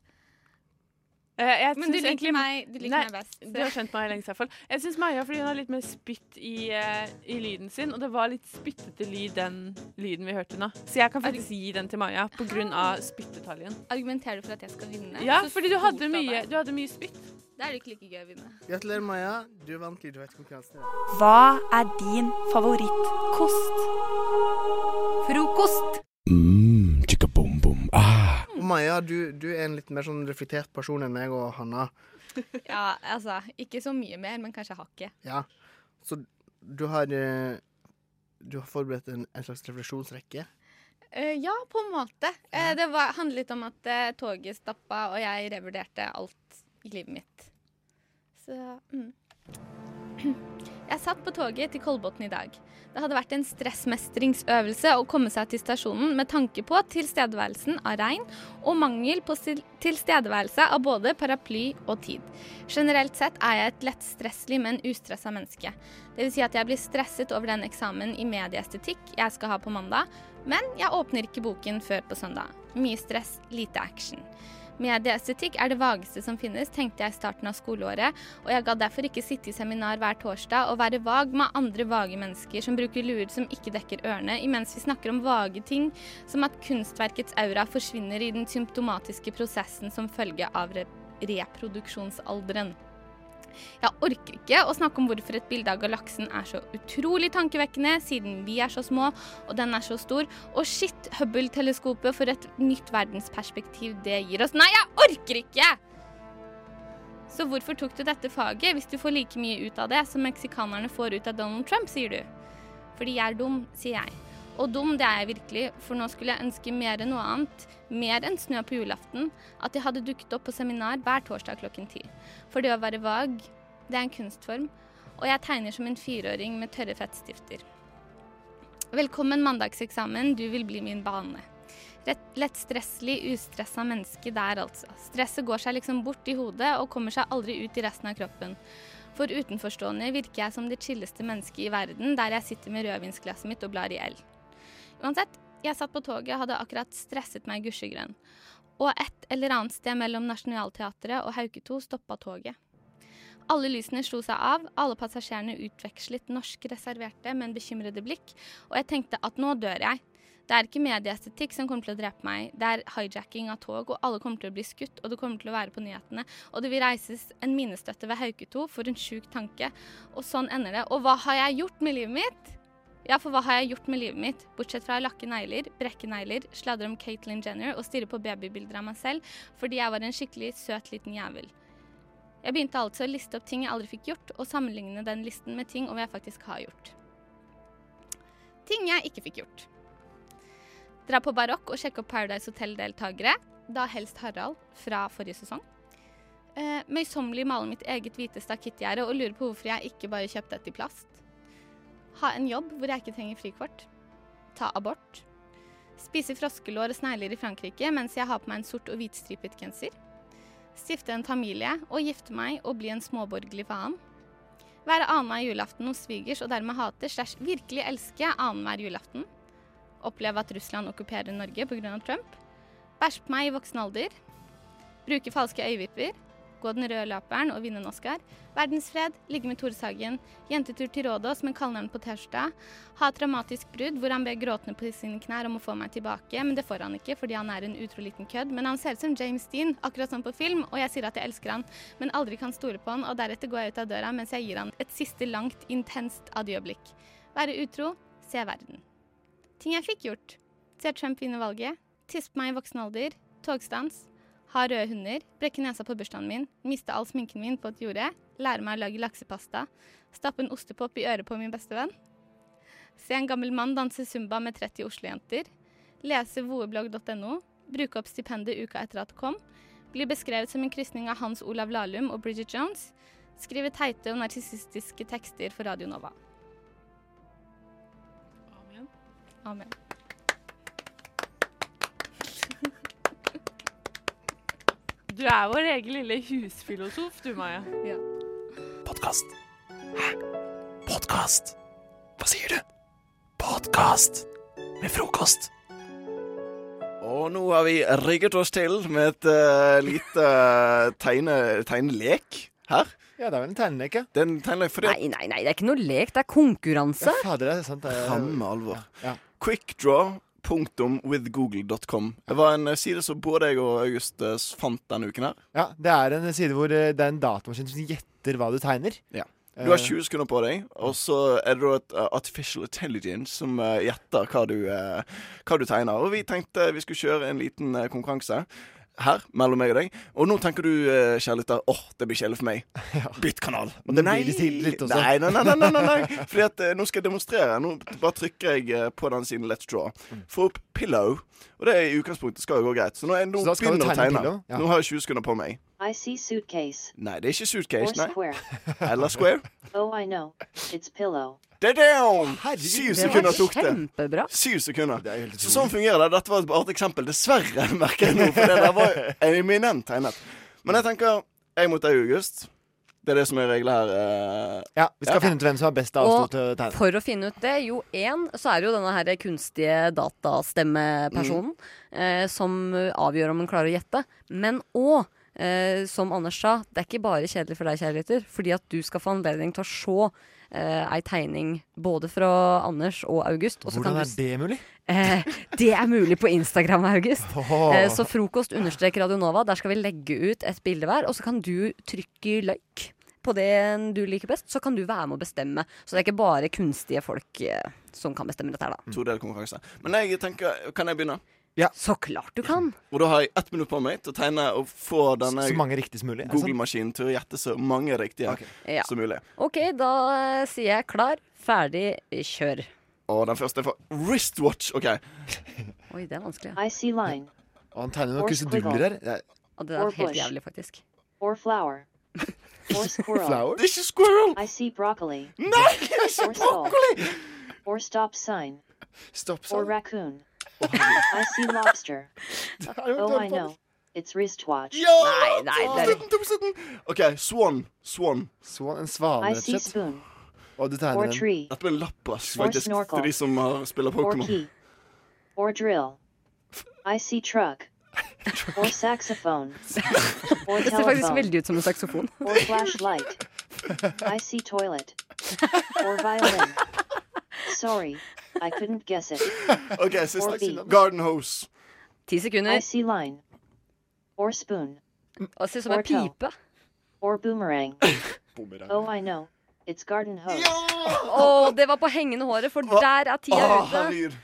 Speaker 23: Men du liker
Speaker 20: meg- du liker meg best, så-
Speaker 23: Du har skjønt meg lengst, i hvert fall. Jeg syns Maja fordi hun har litt mer spytt i, eh, i lyden sin, og det var litt spyttete lyd, den lyden vi hørte nå. Så jeg kan faktisk gi den til Maja på grunn
Speaker 20: Ah.
Speaker 23: av spyttetaljen.
Speaker 20: Argumenterer du for at jeg skal vinne?
Speaker 23: Ja,
Speaker 20: Så
Speaker 23: fordi du
Speaker 20: stort
Speaker 23: hadde
Speaker 20: av
Speaker 23: mye,
Speaker 20: deg.
Speaker 23: du hadde mye spytt.
Speaker 20: Da er det ikke like gøy å vinne.
Speaker 19: Gratulerer, Maja. Du vant lydvektkonkurransen.
Speaker 12: Hva er din favorittkost? Frokost.
Speaker 13: Mmm, chicka boom boom ah.
Speaker 19: Maja, du, du er en litt mer sånn reflektert person enn meg og Hanna.
Speaker 20: Ja, altså, ikke så mye mer, men kanskje hakket.
Speaker 19: Ja. Så du har eh, Du har forberedt en, en slags refleksjonsrekke.
Speaker 20: Eh, ja, på en måte. Eh, det var, handlet litt om at eh, toget stappa, og jeg revurderte alt i livet mitt. Så mm. Jeg satt på toget til Kolbotn i dag. Det hadde vært en stressmestringsøvelse å komme seg til stasjonen med tanke på tilstedeværelsen av regn og mangel på stil- tilstedeværelse av både paraply og tid. Generelt sett er jeg et lettstresselig, men ustressa menneske. Det vil si at jeg blir stresset over den eksamen i medieestetikk jeg skal ha på mandag, men jeg åpner ikke boken før på søndag. Mye stress, lite action. Medieestetikk er det vageste som finnes, tenkte jeg i starten av skoleåret, og jeg gadd derfor ikke sitte i seminar hver torsdag og være vag med andre vage mennesker som bruker luer som ikke dekker ørene, imens vi snakker om vage ting som at kunstverkets aura forsvinner i den symptomatiske prosessen som følge av re reproduksjonsalderen. Jeg orker ikke å snakke om hvorfor et bilde av galaksen er så utrolig tankevekkende, siden vi er så små og den er så stor. Og shit, Hubble-teleskopet for et nytt verdensperspektiv det gir oss. Nei, jeg orker ikke! Så hvorfor tok du dette faget hvis du får like mye ut av det som meksikanerne får ut av Donald Trump, sier du? Fordi jeg er dum, sier jeg. Og dum det er jeg virkelig, for nå skulle jeg ønske mer enn noe annet, mer enn snø på julaften, at jeg hadde dukket opp på seminar hver torsdag klokken ti. For det å være vag, det er en kunstform, og jeg tegner som en fireåring med tørre fettstifter. Velkommen mandagseksamen, du vil bli min bane. Rett- Lettstresselig, ustressa menneske der, altså. Stresset går seg liksom bort i hodet og kommer seg aldri ut i resten av kroppen. For utenforstående virker jeg som det chilleste mennesket i verden, der jeg sitter med rødvinsglasset mitt og blar i L. Uansett, jeg satt på toget og hadde akkurat stresset meg gusjegrønn. Og et eller annet sted mellom Nationaltheatret og Hauke 2 stoppa toget. Alle lysene slo seg av, alle passasjerene utvekslet norsk reserverte, men bekymrede blikk, og jeg tenkte at nå dør jeg. Det er ikke medieestetikk som kommer til å drepe meg, det er hijacking av tog, og alle kommer til å bli skutt, og det kommer til å være på nyhetene, og det vil reises en minestøtte ved Hauketo for en sjuk tanke, og sånn ender det. Og hva har jeg gjort med livet mitt? Ja, for hva har jeg gjort med livet mitt, bortsett fra å lakke negler, brekke negler, sladre om Caitlyn Jenner og stirre på babybilder av meg selv, fordi jeg var en skikkelig søt liten jævel. Jeg begynte altså å liste opp ting jeg aldri fikk gjort, og sammenligne den listen med ting om jeg faktisk har gjort. Ting jeg ikke fikk gjort. Dra på barokk og sjekke opp Paradise Hotel-deltakere, da helst Harald fra forrige sesong. Eh, Møysommelig male mitt eget hvite stakittgjerde og lure på hvorfor jeg ikke bare kjøpte et i plast. Ha en jobb hvor jeg ikke trenger frikort. Ta abort. Spise froskelår og snegler i Frankrike mens jeg har på meg en sort og hvitstripet genser. Stifte en familie og gifte meg og bli en småborgerlig faen. Være annenhver julaften hos svigers og dermed hate slash virkelig elske annenhver julaften. Oppleve at Russland okkuperer Norge pga. Trump. Bæsje på meg i voksen alder. Bruke falske øyevipper. Gå den røde løperen og vinne en Oscar. Verdensfred. Ligge med Tore Sagen. Jentetur til Rådås med kallenavn på tirsdag. Ha et dramatisk brudd hvor han ber gråtende på sine knær om å få meg tilbake, men det får han ikke fordi han er en utro liten kødd. Men han ser ut som James Dean, akkurat som på film, og jeg sier at jeg elsker han, men aldri kan stole på han, og deretter går jeg ut av døra mens jeg gir han et siste langt, intenst adjøblikk. Være utro. Se verden. Ting jeg fikk gjort. Se Trump vinne valget. Tisse på meg i voksen alder. Togstans. Ha røde hunder. Brekke nesa på bursdagen min. Miste all sminken min på et jorde. Lære meg å lage laksepasta. Stappe en ostepop i øret på min bestevenn. Se en gammel mann danse zumba med 30 Oslo-jenter. Lese voeblogg.no. Bruke opp stipendet uka etter at det kom. Bli beskrevet som en krysning av Hans Olav Lahlum og Bridget Jones. Skrive teite og narsissistiske tekster for Radio Nova. Amen.
Speaker 23: Du er vår egen lille husfilosof, du, Maja.
Speaker 17: Podkast. Hæ? Podkast? Hva sier du? Podkast med frokost.
Speaker 2: Og nå har vi rigget oss til med et eh, lite eh, tegne, tegnelek her.
Speaker 5: Ja, det er vel en tegnelek, ja.
Speaker 2: Det er en tegnelek fordi
Speaker 14: Nei, nei, nei, det er ikke noe lek, det er konkurranse.
Speaker 5: Ja, fader, det er sant. Det er,
Speaker 2: Ramme alvor. Quickdraw.withgoogle.com. Det var en eh, side som både jeg og August eh, s- fant denne uken her.
Speaker 5: ja, det er en side hvor eh, det er en datamaskin som gjetter hva du tegner.
Speaker 2: Du
Speaker 5: Eh.
Speaker 2: har 20 sekunder på deg, og så er det da et eh, artificial intelligence som eh, gjetter hva du, eh, hva du tegner. Og vi tenkte vi skulle kjøre en liten eh, konkurranse her, mellom meg og deg. Og nå tenker du, eh, kjære lytter, åh, det blir kjedelig for meg. Bytt kanal.
Speaker 5: Og det blir det sikkert litt også.
Speaker 2: Nei, nei, nei, nei, nei, nei, nei. Fordi at eh, nå skal jeg demonstrere. Nå bare trykker jeg eh, på den siden Let's Draw.
Speaker 5: Mm.
Speaker 2: Få opp pillow. Og det er i utgangspunktet skal jo gå greit. Så nå, er, nå
Speaker 5: Så da skal du
Speaker 2: begynner jeg å
Speaker 5: tegne
Speaker 2: tegne.
Speaker 5: pillow? Ja.
Speaker 2: Nå har jeg 20 sekunder på meg.
Speaker 24: I see suitcase.
Speaker 2: Nei, det er ikke
Speaker 24: Or
Speaker 2: suitcase, nei.
Speaker 24: square.
Speaker 2: Eller square.
Speaker 24: Oh, I know. It's pillow.
Speaker 2: Det er down! Syv
Speaker 24: det var
Speaker 2: sekunder tok det.
Speaker 14: Kjempebra.
Speaker 2: Syv sekunder. Så sånn fungerer det. Dette var et artig eksempel. Dessverre, merker jeg nå, for det der var eminent tegnet. Men jeg tenker jeg mot deg, August. Det er det som er reglene her. eh,
Speaker 5: Ja, Vi skal finne ut hvem som har best avstand til å tegne.
Speaker 14: For å finne ut det, jo én, så er det jo denne her kunstige datastemmepersonen
Speaker 5: Mm.
Speaker 14: eh, som avgjør om hun klarer å gjette. Men òg, eh, som Anders sa, det er ikke bare kjedelig for deg, kjære lytter, fordi at du skal få anledning til å se eh, ei tegning både fra Anders og August. Og så
Speaker 5: Hvordan
Speaker 14: kan du
Speaker 5: er det mulig?
Speaker 14: Eh, det er mulig på Instagram, August.
Speaker 5: Åh.
Speaker 14: Eh, så frokost understrek Radionova. Der skal vi legge ut et bilde hver, og så kan du trykke like på det du liker best. Så kan du være med å bestemme. Så det er ikke bare kunstige folk eh, som kan bestemme dette her, da.
Speaker 2: Mm. Todelkonkurranse. Men jeg tenker, kan jeg begynne?
Speaker 14: Så klart du kan.
Speaker 2: Og da har jeg ett minutt på meg til å tegne og få denne
Speaker 5: Så mange riktig som mulig. altså. er det sant?
Speaker 2: Google-maskinen til å gjette så mange riktige
Speaker 14: Ja.
Speaker 2: som mulig.
Speaker 14: OK, da eh, sier jeg klar, ferdig, kjør.
Speaker 2: Og den første er fra Wristwatch. OK.
Speaker 14: Oi, det er vanskelig.
Speaker 24: I see line.
Speaker 5: Og han tegner noen
Speaker 24: Or
Speaker 5: kruseduller her. Det er-
Speaker 14: Og det er
Speaker 24: Or
Speaker 14: helt
Speaker 24: bush.
Speaker 14: jævlig, faktisk.
Speaker 24: Or flower. Or squirrel.
Speaker 5: Flower?
Speaker 2: This is squirrel.
Speaker 24: I see broccoli.
Speaker 2: No,
Speaker 24: it's broccoli. Or stop sign.
Speaker 5: Stop
Speaker 24: Or raccoon. I see lobster. Oh, I know. It's wristwatch.
Speaker 2: Ja! Nei,
Speaker 24: nei, det er-
Speaker 2: Topp 17, topp 17. OK, swan. Swan.
Speaker 5: en
Speaker 2: Oh,
Speaker 5: svane,
Speaker 24: I see spoon.
Speaker 5: Og du
Speaker 24: Or
Speaker 5: tegner den.
Speaker 24: tree.
Speaker 2: Dette ble lappas,
Speaker 24: Or
Speaker 2: faktisk,
Speaker 24: snorkel.
Speaker 2: til de som har spiller
Speaker 24: Or
Speaker 2: Pokémon.
Speaker 24: key. Or drill. I see truck. Or saxophone. Or
Speaker 14: Det ser faktisk
Speaker 24: telephone.
Speaker 14: veldig ut som en saksofon.
Speaker 24: Or flashlight. I see toilet. Or violin. Sorry, I couldn't guess it.
Speaker 2: OK,
Speaker 24: Or bee.
Speaker 2: siste. Garden hose.
Speaker 14: Ti sekunder.
Speaker 24: I see line. Or spoon.
Speaker 14: oh, Og ser ut som
Speaker 24: Or
Speaker 14: en
Speaker 24: toe.
Speaker 14: pipe.
Speaker 24: Or boomerang. Oh, I know.
Speaker 4: It's garden hose.
Speaker 14: Å, det var på hengende håret, for der er tida
Speaker 2: Åh,
Speaker 14: ute.
Speaker 2: Ah, herregud.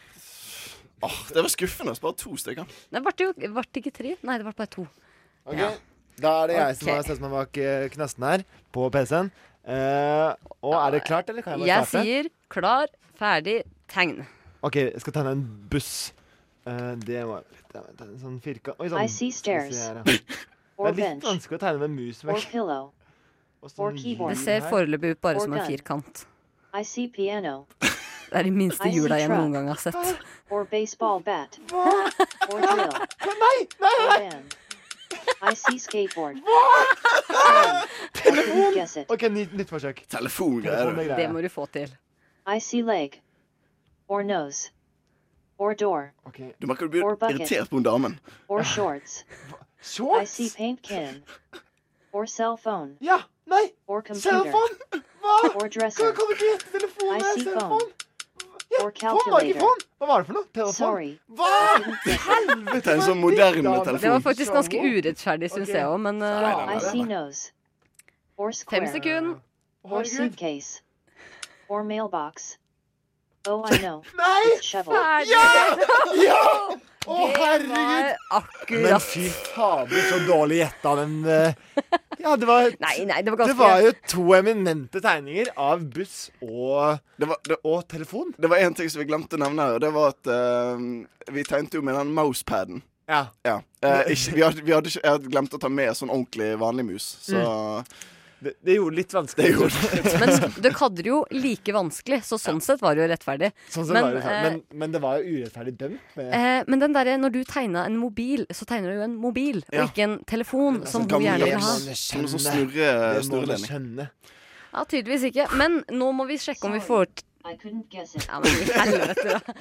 Speaker 2: Åh, det var skuffende. Bare to stykker.
Speaker 14: Det ble jo ble det ikke tre. Nei, det ble bare to.
Speaker 5: Ok,
Speaker 14: Ja.
Speaker 5: Da er det jeg som
Speaker 14: Ok.
Speaker 5: har sett meg bak eh, knasten her, på PC-en. Eh, og er det klart, eller kan jeg bare
Speaker 14: Jeg
Speaker 5: starte?
Speaker 14: sier klar, ferdig, tegn.
Speaker 5: OK, jeg skal tegne en buss. Eh, det var litt jeg vet, en sånn firkant Oi sann.
Speaker 4: I see
Speaker 5: Skal vi
Speaker 4: stairs.
Speaker 5: se her, ja. Det
Speaker 4: Or
Speaker 5: er litt
Speaker 4: bench.
Speaker 5: vanskelig å tegne med mus.
Speaker 4: Or
Speaker 5: Vel.
Speaker 4: pillow. Or keyboard.
Speaker 14: Det ser foreløpig ut bare
Speaker 4: Or
Speaker 14: som en
Speaker 4: gun.
Speaker 14: firkant.
Speaker 4: I see piano.
Speaker 14: Det er de minste
Speaker 4: I see
Speaker 14: hjula jeg
Speaker 4: truck.
Speaker 14: noen gang har sett.
Speaker 4: Or baseball bat. Or drill. Or band. I see skateboard. Telefon! Guess it.
Speaker 5: OK, nytt, nytt forsøk.
Speaker 2: Telefongreier.
Speaker 14: Det må du få til.
Speaker 4: I see leg. Or nose. Or door.
Speaker 2: Du merker du blir
Speaker 4: Or bucket.
Speaker 2: irritert på hun damen.
Speaker 4: Or shorts. I see paint can. Or cell phone.
Speaker 5: Yeah, no.
Speaker 4: Or computer.
Speaker 5: phone?
Speaker 4: Or dresser. I see phone. Or
Speaker 5: Faen, var det
Speaker 4: calculator.
Speaker 5: ikke faen? Hva var det for noe? Telefon?
Speaker 4: Sorry.
Speaker 5: Hva?
Speaker 2: Helvete, en sånn moderne
Speaker 14: Det
Speaker 2: telefon.
Speaker 14: var faktisk ganske urettferdig, syns
Speaker 4: Ok.
Speaker 14: jeg òg, men
Speaker 4: Nei,
Speaker 14: eh,
Speaker 4: I see nose. Or
Speaker 14: Fem
Speaker 4: square.
Speaker 14: sekunder.
Speaker 4: Or suitcase. Or mailbox. Oh, I know. It's shovel.
Speaker 5: Ferdig. Ja! Å,
Speaker 14: herregud!
Speaker 5: Men fy fader, så dårlig gjetta den eh. Ja, det var
Speaker 14: Nei, nei, det var ganske
Speaker 5: Det var jo to eminente tegninger av buss og
Speaker 2: det var, det,
Speaker 5: og telefon.
Speaker 2: Det var én ting som vi glemte å nevne her, og det var at eh, vi tegnte jo med den mousepaden.
Speaker 5: Ja.
Speaker 2: Eh, ikke, vi hadde, vi hadde ikke, jeg hadde glemt å ta med sånn ordentlig vanlig mus, så
Speaker 5: Mm. det, gjorde litt vanskelig.
Speaker 14: Men dere hadde det jo like vanskelig, så sånn sett var det jo rettferdig.
Speaker 5: Sånn som
Speaker 14: Men,
Speaker 5: var det, sånn.
Speaker 14: eh,
Speaker 5: men, men det var jo urettferdig dømt. mener jeg.
Speaker 14: Eh, men den derre når du tegna en mobil, så tegner du jo en mobil,
Speaker 5: Ja.
Speaker 14: og ikke en telefon,
Speaker 5: Altså,
Speaker 14: som hun gjerne vil ha.
Speaker 2: Som en sånn
Speaker 5: Det
Speaker 2: snurre,
Speaker 5: må du
Speaker 2: snurreledning.
Speaker 5: skjønne.
Speaker 14: Ja, tydeligvis ikke. Men nå må vi sjekke om vi får t-
Speaker 4: I couldn't guess it.
Speaker 14: Ja, men i helvete, da.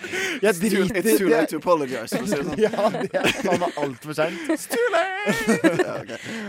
Speaker 5: Jeg
Speaker 2: It's too-
Speaker 5: driter
Speaker 2: It's too late
Speaker 5: det-
Speaker 2: to apologize, for å si det sånn.
Speaker 5: Ja, det er faen meg altfor seint.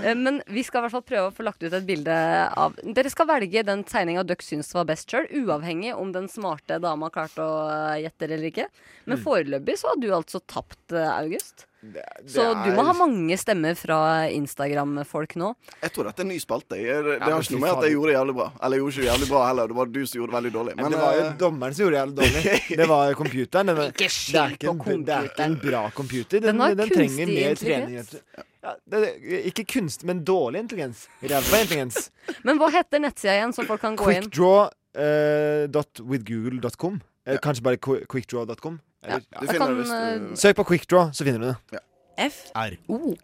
Speaker 14: Eh, Men vi skal i hvert fall prøve å få lagt ut et bilde av Dere skal velge den tegninga dere syns var best sjøl, uavhengig om den smarte dama klarte å eh, gjette det eller ikke. Men
Speaker 5: Mm.
Speaker 14: foreløpig så har du altså tapt, eh, August.
Speaker 5: det
Speaker 14: Så du må
Speaker 2: er-
Speaker 14: ha mange stemmer fra Instagram-folk nå.
Speaker 2: Jeg tror dette er en ny spalte. Jeg, det, det
Speaker 14: men
Speaker 2: har ikke
Speaker 14: fy
Speaker 2: noe med at
Speaker 14: faen.
Speaker 2: jeg gjorde det jævlig bra. Eller jeg gjorde ikke det jævlig bra heller. Det var du som gjorde det veldig dårlig.
Speaker 5: Men det var jo
Speaker 2: eh,
Speaker 5: dommeren som gjorde det jævlig dårlig. Det var computeren. Den,
Speaker 14: Ikke
Speaker 5: det, er ikke en, det er ikke en bra computer. Den,
Speaker 14: Den har
Speaker 5: den, trenger
Speaker 14: kunstig
Speaker 5: mer trening.
Speaker 14: intelligens.
Speaker 5: Ja, det, det- ikke kunstig, men dårlig intelligens. Ræva intelligens.
Speaker 14: Men hva heter nettsida igjen, så folk kan gå inn?
Speaker 5: eh, Quickdraw.withgoogle.com. Eh, Kanskje bare qui- quickdraw.com. Eller-
Speaker 14: Ja, Du finner kan, det hvis du- eh,
Speaker 5: Søk på quickdraw, så finner du det.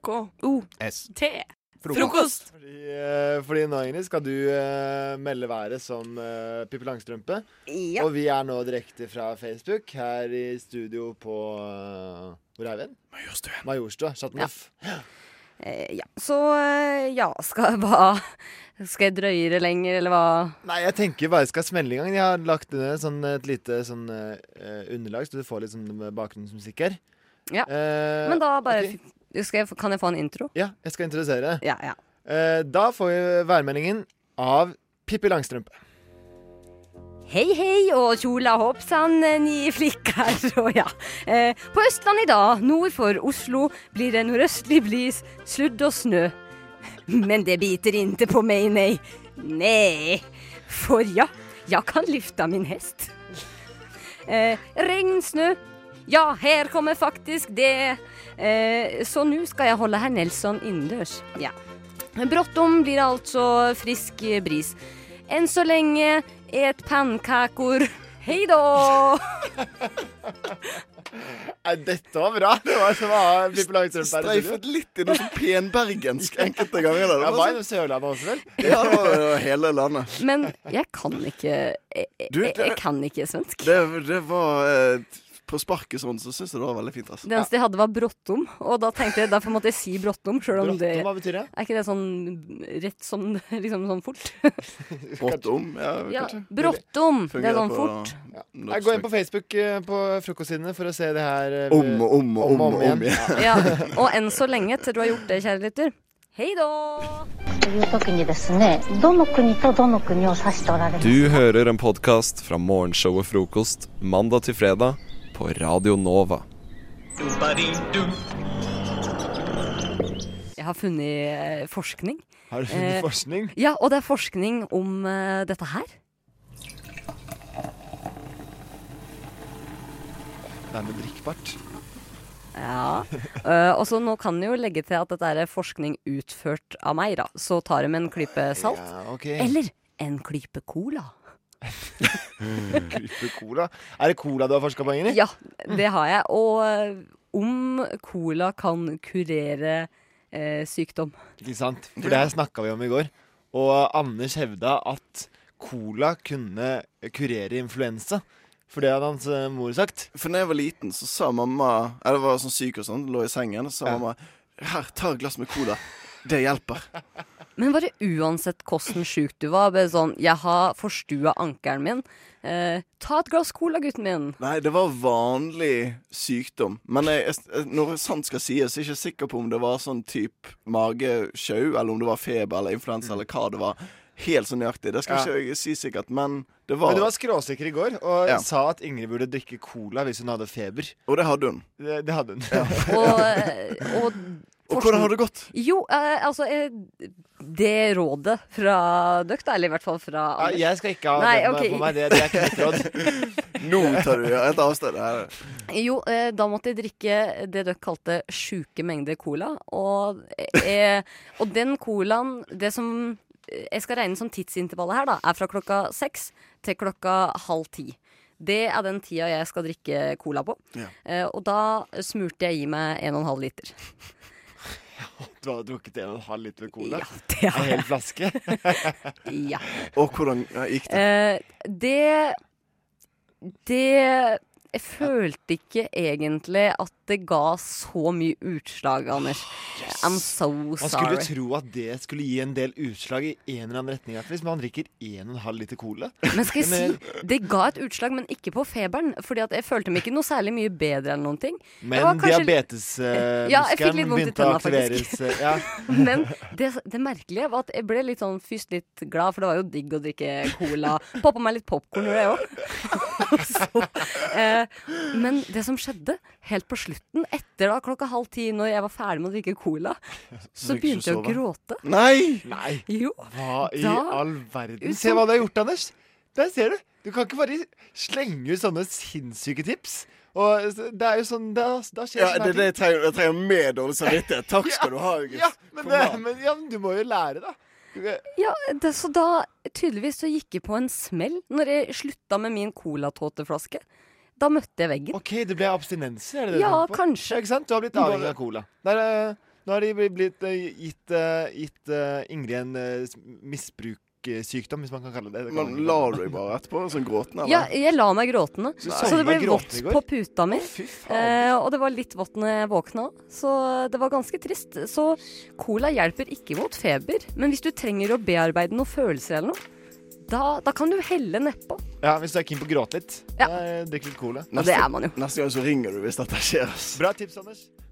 Speaker 6: F-R-O-K-O-S-T.
Speaker 5: Frokost. Fordi, eh, fordi nå, Ingrid, skal du eh, melde været som eh, Pippi Langstrømpe.
Speaker 14: Ja.
Speaker 5: Og vi er nå direkte fra Facebook, her i studio på eh, Hvor er vi? Majorstua. Majorstua, Chateauneuf.
Speaker 14: Eh, ja. Så eh, ja, skal jeg hva Skal jeg drøyere lenger, eller hva?
Speaker 5: Nei, jeg tenker bare jeg skal smelle i gang. Jeg har lagt ned sånn, et lite sånn, eh, underlag, så du får litt sånn bakgrunnsmusikk her.
Speaker 14: Ja.
Speaker 5: Eh,
Speaker 14: Men da bare
Speaker 5: ok.
Speaker 14: skal jeg, Kan jeg få en intro?
Speaker 5: Ja, jeg skal introdusere.
Speaker 14: Ja, ja.
Speaker 5: Eh, da får vi værmeldingen av Pippi Langstrømpe.
Speaker 14: Hei, hei, og tjola hoppsann, ni flikker, og ja. Eh, på Østlandet i dag, nord for Oslo, blir det nordøstlig bris, sludd og snø. Men det biter inte på meg, nei. Nei. For ja, jeg kan lyfta min hest. Eh, regn, snø. Ja, her kommer faktisk det. Eh, så nå skal jeg holde herr Nelson innendørs. Ja. Bråttom blir det altså frisk bris. Enn så lenge et pannkaker. Hei da!
Speaker 5: Nei, dette var bra. Det var som å ha Pippi Langstrømpe her i studio.
Speaker 2: Streifet litt i noe sånn penbergensk enkelte ganger.
Speaker 5: Ja,
Speaker 2: Der. Det
Speaker 5: var
Speaker 2: var
Speaker 5: innom Sørlandet også, vel?
Speaker 2: sånn- Ja, det var jo hele landet.
Speaker 14: Men jeg kan ikke Jeg,
Speaker 2: Du,
Speaker 14: jeg, jeg
Speaker 2: det-
Speaker 14: kan ikke svensk.
Speaker 2: Det, det var eh, På sparket sånn, så syns jeg det var veldig fint. Altså.
Speaker 14: Det eneste jeg hadde, var Brottom, og da tenkte jeg derfor måtte jeg si Brottom. Selv om det,
Speaker 5: hva betyr det?
Speaker 14: Er ikke det sånn rett som liksom sånn fort?
Speaker 2: Bråttom. Ja,
Speaker 14: Ja,
Speaker 2: kanskje.
Speaker 14: Brottom. Det er
Speaker 2: Fungerer
Speaker 14: sånn
Speaker 2: på-
Speaker 14: fort.
Speaker 5: Ja. Nei, Gå inn på Facebook eh, på frokostsidene for å se det her. eh,
Speaker 2: Om og om og om og om igjen.
Speaker 14: Ja, og enn så lenge, til du har gjort det, kjære lytter. Hei da!
Speaker 10: という時にですねどの国とどの国を指しておられます
Speaker 1: Du hører en podkast fra morgenshowet Frokost mandag til fredag på Radio Nova.
Speaker 14: Jeg har funnet eh, forskning
Speaker 5: Har du funnet
Speaker 14: Eh,
Speaker 5: forskning?
Speaker 14: Ja, og det er forskning om eh, dette her.
Speaker 5: Det er med drikkbart.
Speaker 14: Ja. Eh, og så nå kan jeg jo legge til at dette er forskning utført av meg, da. Så tar jeg med en klype salt.
Speaker 5: Ja, ok.
Speaker 14: Eller en klype cola.
Speaker 5: Klype cola. Er det cola du har forska på, Ingrid?
Speaker 14: Ja, det har jeg. Og eh, om cola kan kurere eh, sykdom.
Speaker 5: Ikke sant? For det her snakka vi om i går. Og Anders hevda at cola kunne kurere influensa. For det hadde hans eh, mor sagt.
Speaker 2: For da jeg var liten, så sa mamma Jeg var sånn syk og sånn, lå i sengen, og så sa mamma Her, ta et glass med cola. Det hjelper.
Speaker 14: Men bare uansett hvordan sjuk du var, bare sånn Jeg har forstua ankelen min. Eh, ta et glass cola, gutten min.
Speaker 2: Nei, det var vanlig sykdom. Men jeg, jeg, når det sant skal sies, jeg er ikke sikker på om det var sånn type magesjau, eller om det var feber eller influensa, eller hva det var. Helt så nøyaktig. Det skal
Speaker 5: Mm. Ja.
Speaker 2: ikke jeg si sikkert, men det var
Speaker 5: Men du var skråsikker i går og
Speaker 2: Ja.
Speaker 5: sa at Ingrid burde drikke cola hvis hun hadde feber.
Speaker 2: Og det hadde hun.
Speaker 5: Det, det hadde hun.
Speaker 14: Og, eh, og
Speaker 2: Og hvordan har det gått?
Speaker 14: Jo, eh, altså eh, Det rådet fra dere, da, eller i hvert fall fra
Speaker 5: Ja,
Speaker 14: Anders
Speaker 5: jeg skal ikke ha
Speaker 14: Nei,
Speaker 5: den
Speaker 14: ok.
Speaker 5: på meg. Det, det er ikke mitt råd.
Speaker 2: Nå tar du et avstand her.
Speaker 14: Jo, eh, da måtte jeg drikke det dere kalte sjuke mengder cola. Og, eh, og den colaen Det som eh, jeg skal regne som tidsintervallet her, da, er fra klokka seks til klokka halv ti. Det er den tida jeg skal drikke cola på.
Speaker 2: Ja.
Speaker 14: Eh, og da smurte jeg i meg en og en halv liter.
Speaker 5: Du har drukket en og en halv liter cola?
Speaker 14: Ja, det har
Speaker 5: En hel flaske?
Speaker 14: ja.
Speaker 2: Og hvordan eh, gikk det?
Speaker 14: Eh, det Det Jeg følte ikke egentlig at det ga så mye utslag, Anders. I'm so
Speaker 5: Man
Speaker 14: sorry.
Speaker 5: skulle tro at det skulle gi en del utslag i en eller annen retning. i hvert fall, Hvis man drikker en og en halv liter cola.
Speaker 14: Men skal jeg
Speaker 5: Men,
Speaker 14: si, det ga et utslag, men ikke på feberen. Fordi at jeg følte meg ikke noe særlig mye bedre eller noen ting. Det
Speaker 5: eh, men
Speaker 14: var kanskje-
Speaker 5: diabetesmuskelen
Speaker 14: Ja, jeg fikk litt vondt i
Speaker 5: begynte å
Speaker 14: tenna, faktisk.
Speaker 5: aktiveres. eh, Ja.
Speaker 14: Men det, det merkelige var at jeg ble litt sånn først litt glad, for det var jo digg å drikke cola. Poppa meg litt popkorn, gjorde jeg òg. Eh, men det som skjedde helt på slutten, etter da klokka halv ti, når jeg var ferdig med å drikke cola,
Speaker 5: Så
Speaker 14: så
Speaker 5: fikk du ikke
Speaker 14: begynte jeg å
Speaker 5: sove?
Speaker 14: gråte.
Speaker 2: Nei!
Speaker 5: Nei.
Speaker 14: Jo.
Speaker 5: Hva i
Speaker 14: Da-
Speaker 5: all verden? Se hva du har gjort, Anders. Der ser du. Du kan ikke bare slenge ut sånne sinnssyke tips. Og s- det er jo sånn Da, da skjer
Speaker 2: Ja,
Speaker 5: sånne
Speaker 2: det
Speaker 5: her
Speaker 2: er det jeg
Speaker 5: ting.
Speaker 2: trenger. Jeg trenger mer dårlig samvittighet. Takk skal du ha, August.
Speaker 5: Ja, men,
Speaker 2: Kom
Speaker 5: det,
Speaker 2: an.
Speaker 5: men, ja, men du må jo lære, da. Du-
Speaker 14: Ja, det, så da tydeligvis så gikk jeg på en smell når jeg slutta med min colatåteflaske. Da møtte jeg veggen.
Speaker 5: Ok, det ble abstinenser, er det det
Speaker 14: Ja,
Speaker 5: du tenker på?
Speaker 14: kanskje.
Speaker 5: Ikke sant? Du har blitt avhengig av cola. Der, eh, nå har de bli- blitt eh, gitt, eh, gitt eh, Ingrid en eh, s- misbrukssykdom, hvis man kan kalle det det.
Speaker 2: Men la du deg bare etterpå? Sånn gråtende?
Speaker 14: Ja, jeg la meg gråtende.
Speaker 5: Så
Speaker 14: Så, det
Speaker 5: sovna
Speaker 14: ble
Speaker 5: gråtende
Speaker 14: vått
Speaker 5: i går?
Speaker 14: på puta mi. eh, og det var litt vått når jeg våkna. Så det var ganske trist. Så cola hjelper ikke mot feber. Men hvis du trenger å bearbeide noen følelser eller noe, da, da kan du helle nedpå.
Speaker 5: Ja, Hvis du er keen på å gråte litt, ja. drikk litt cola.
Speaker 14: Og det er man jo.
Speaker 2: Neste gang så ringer du hvis dette skjer. ass.
Speaker 5: Bra tips, Anders.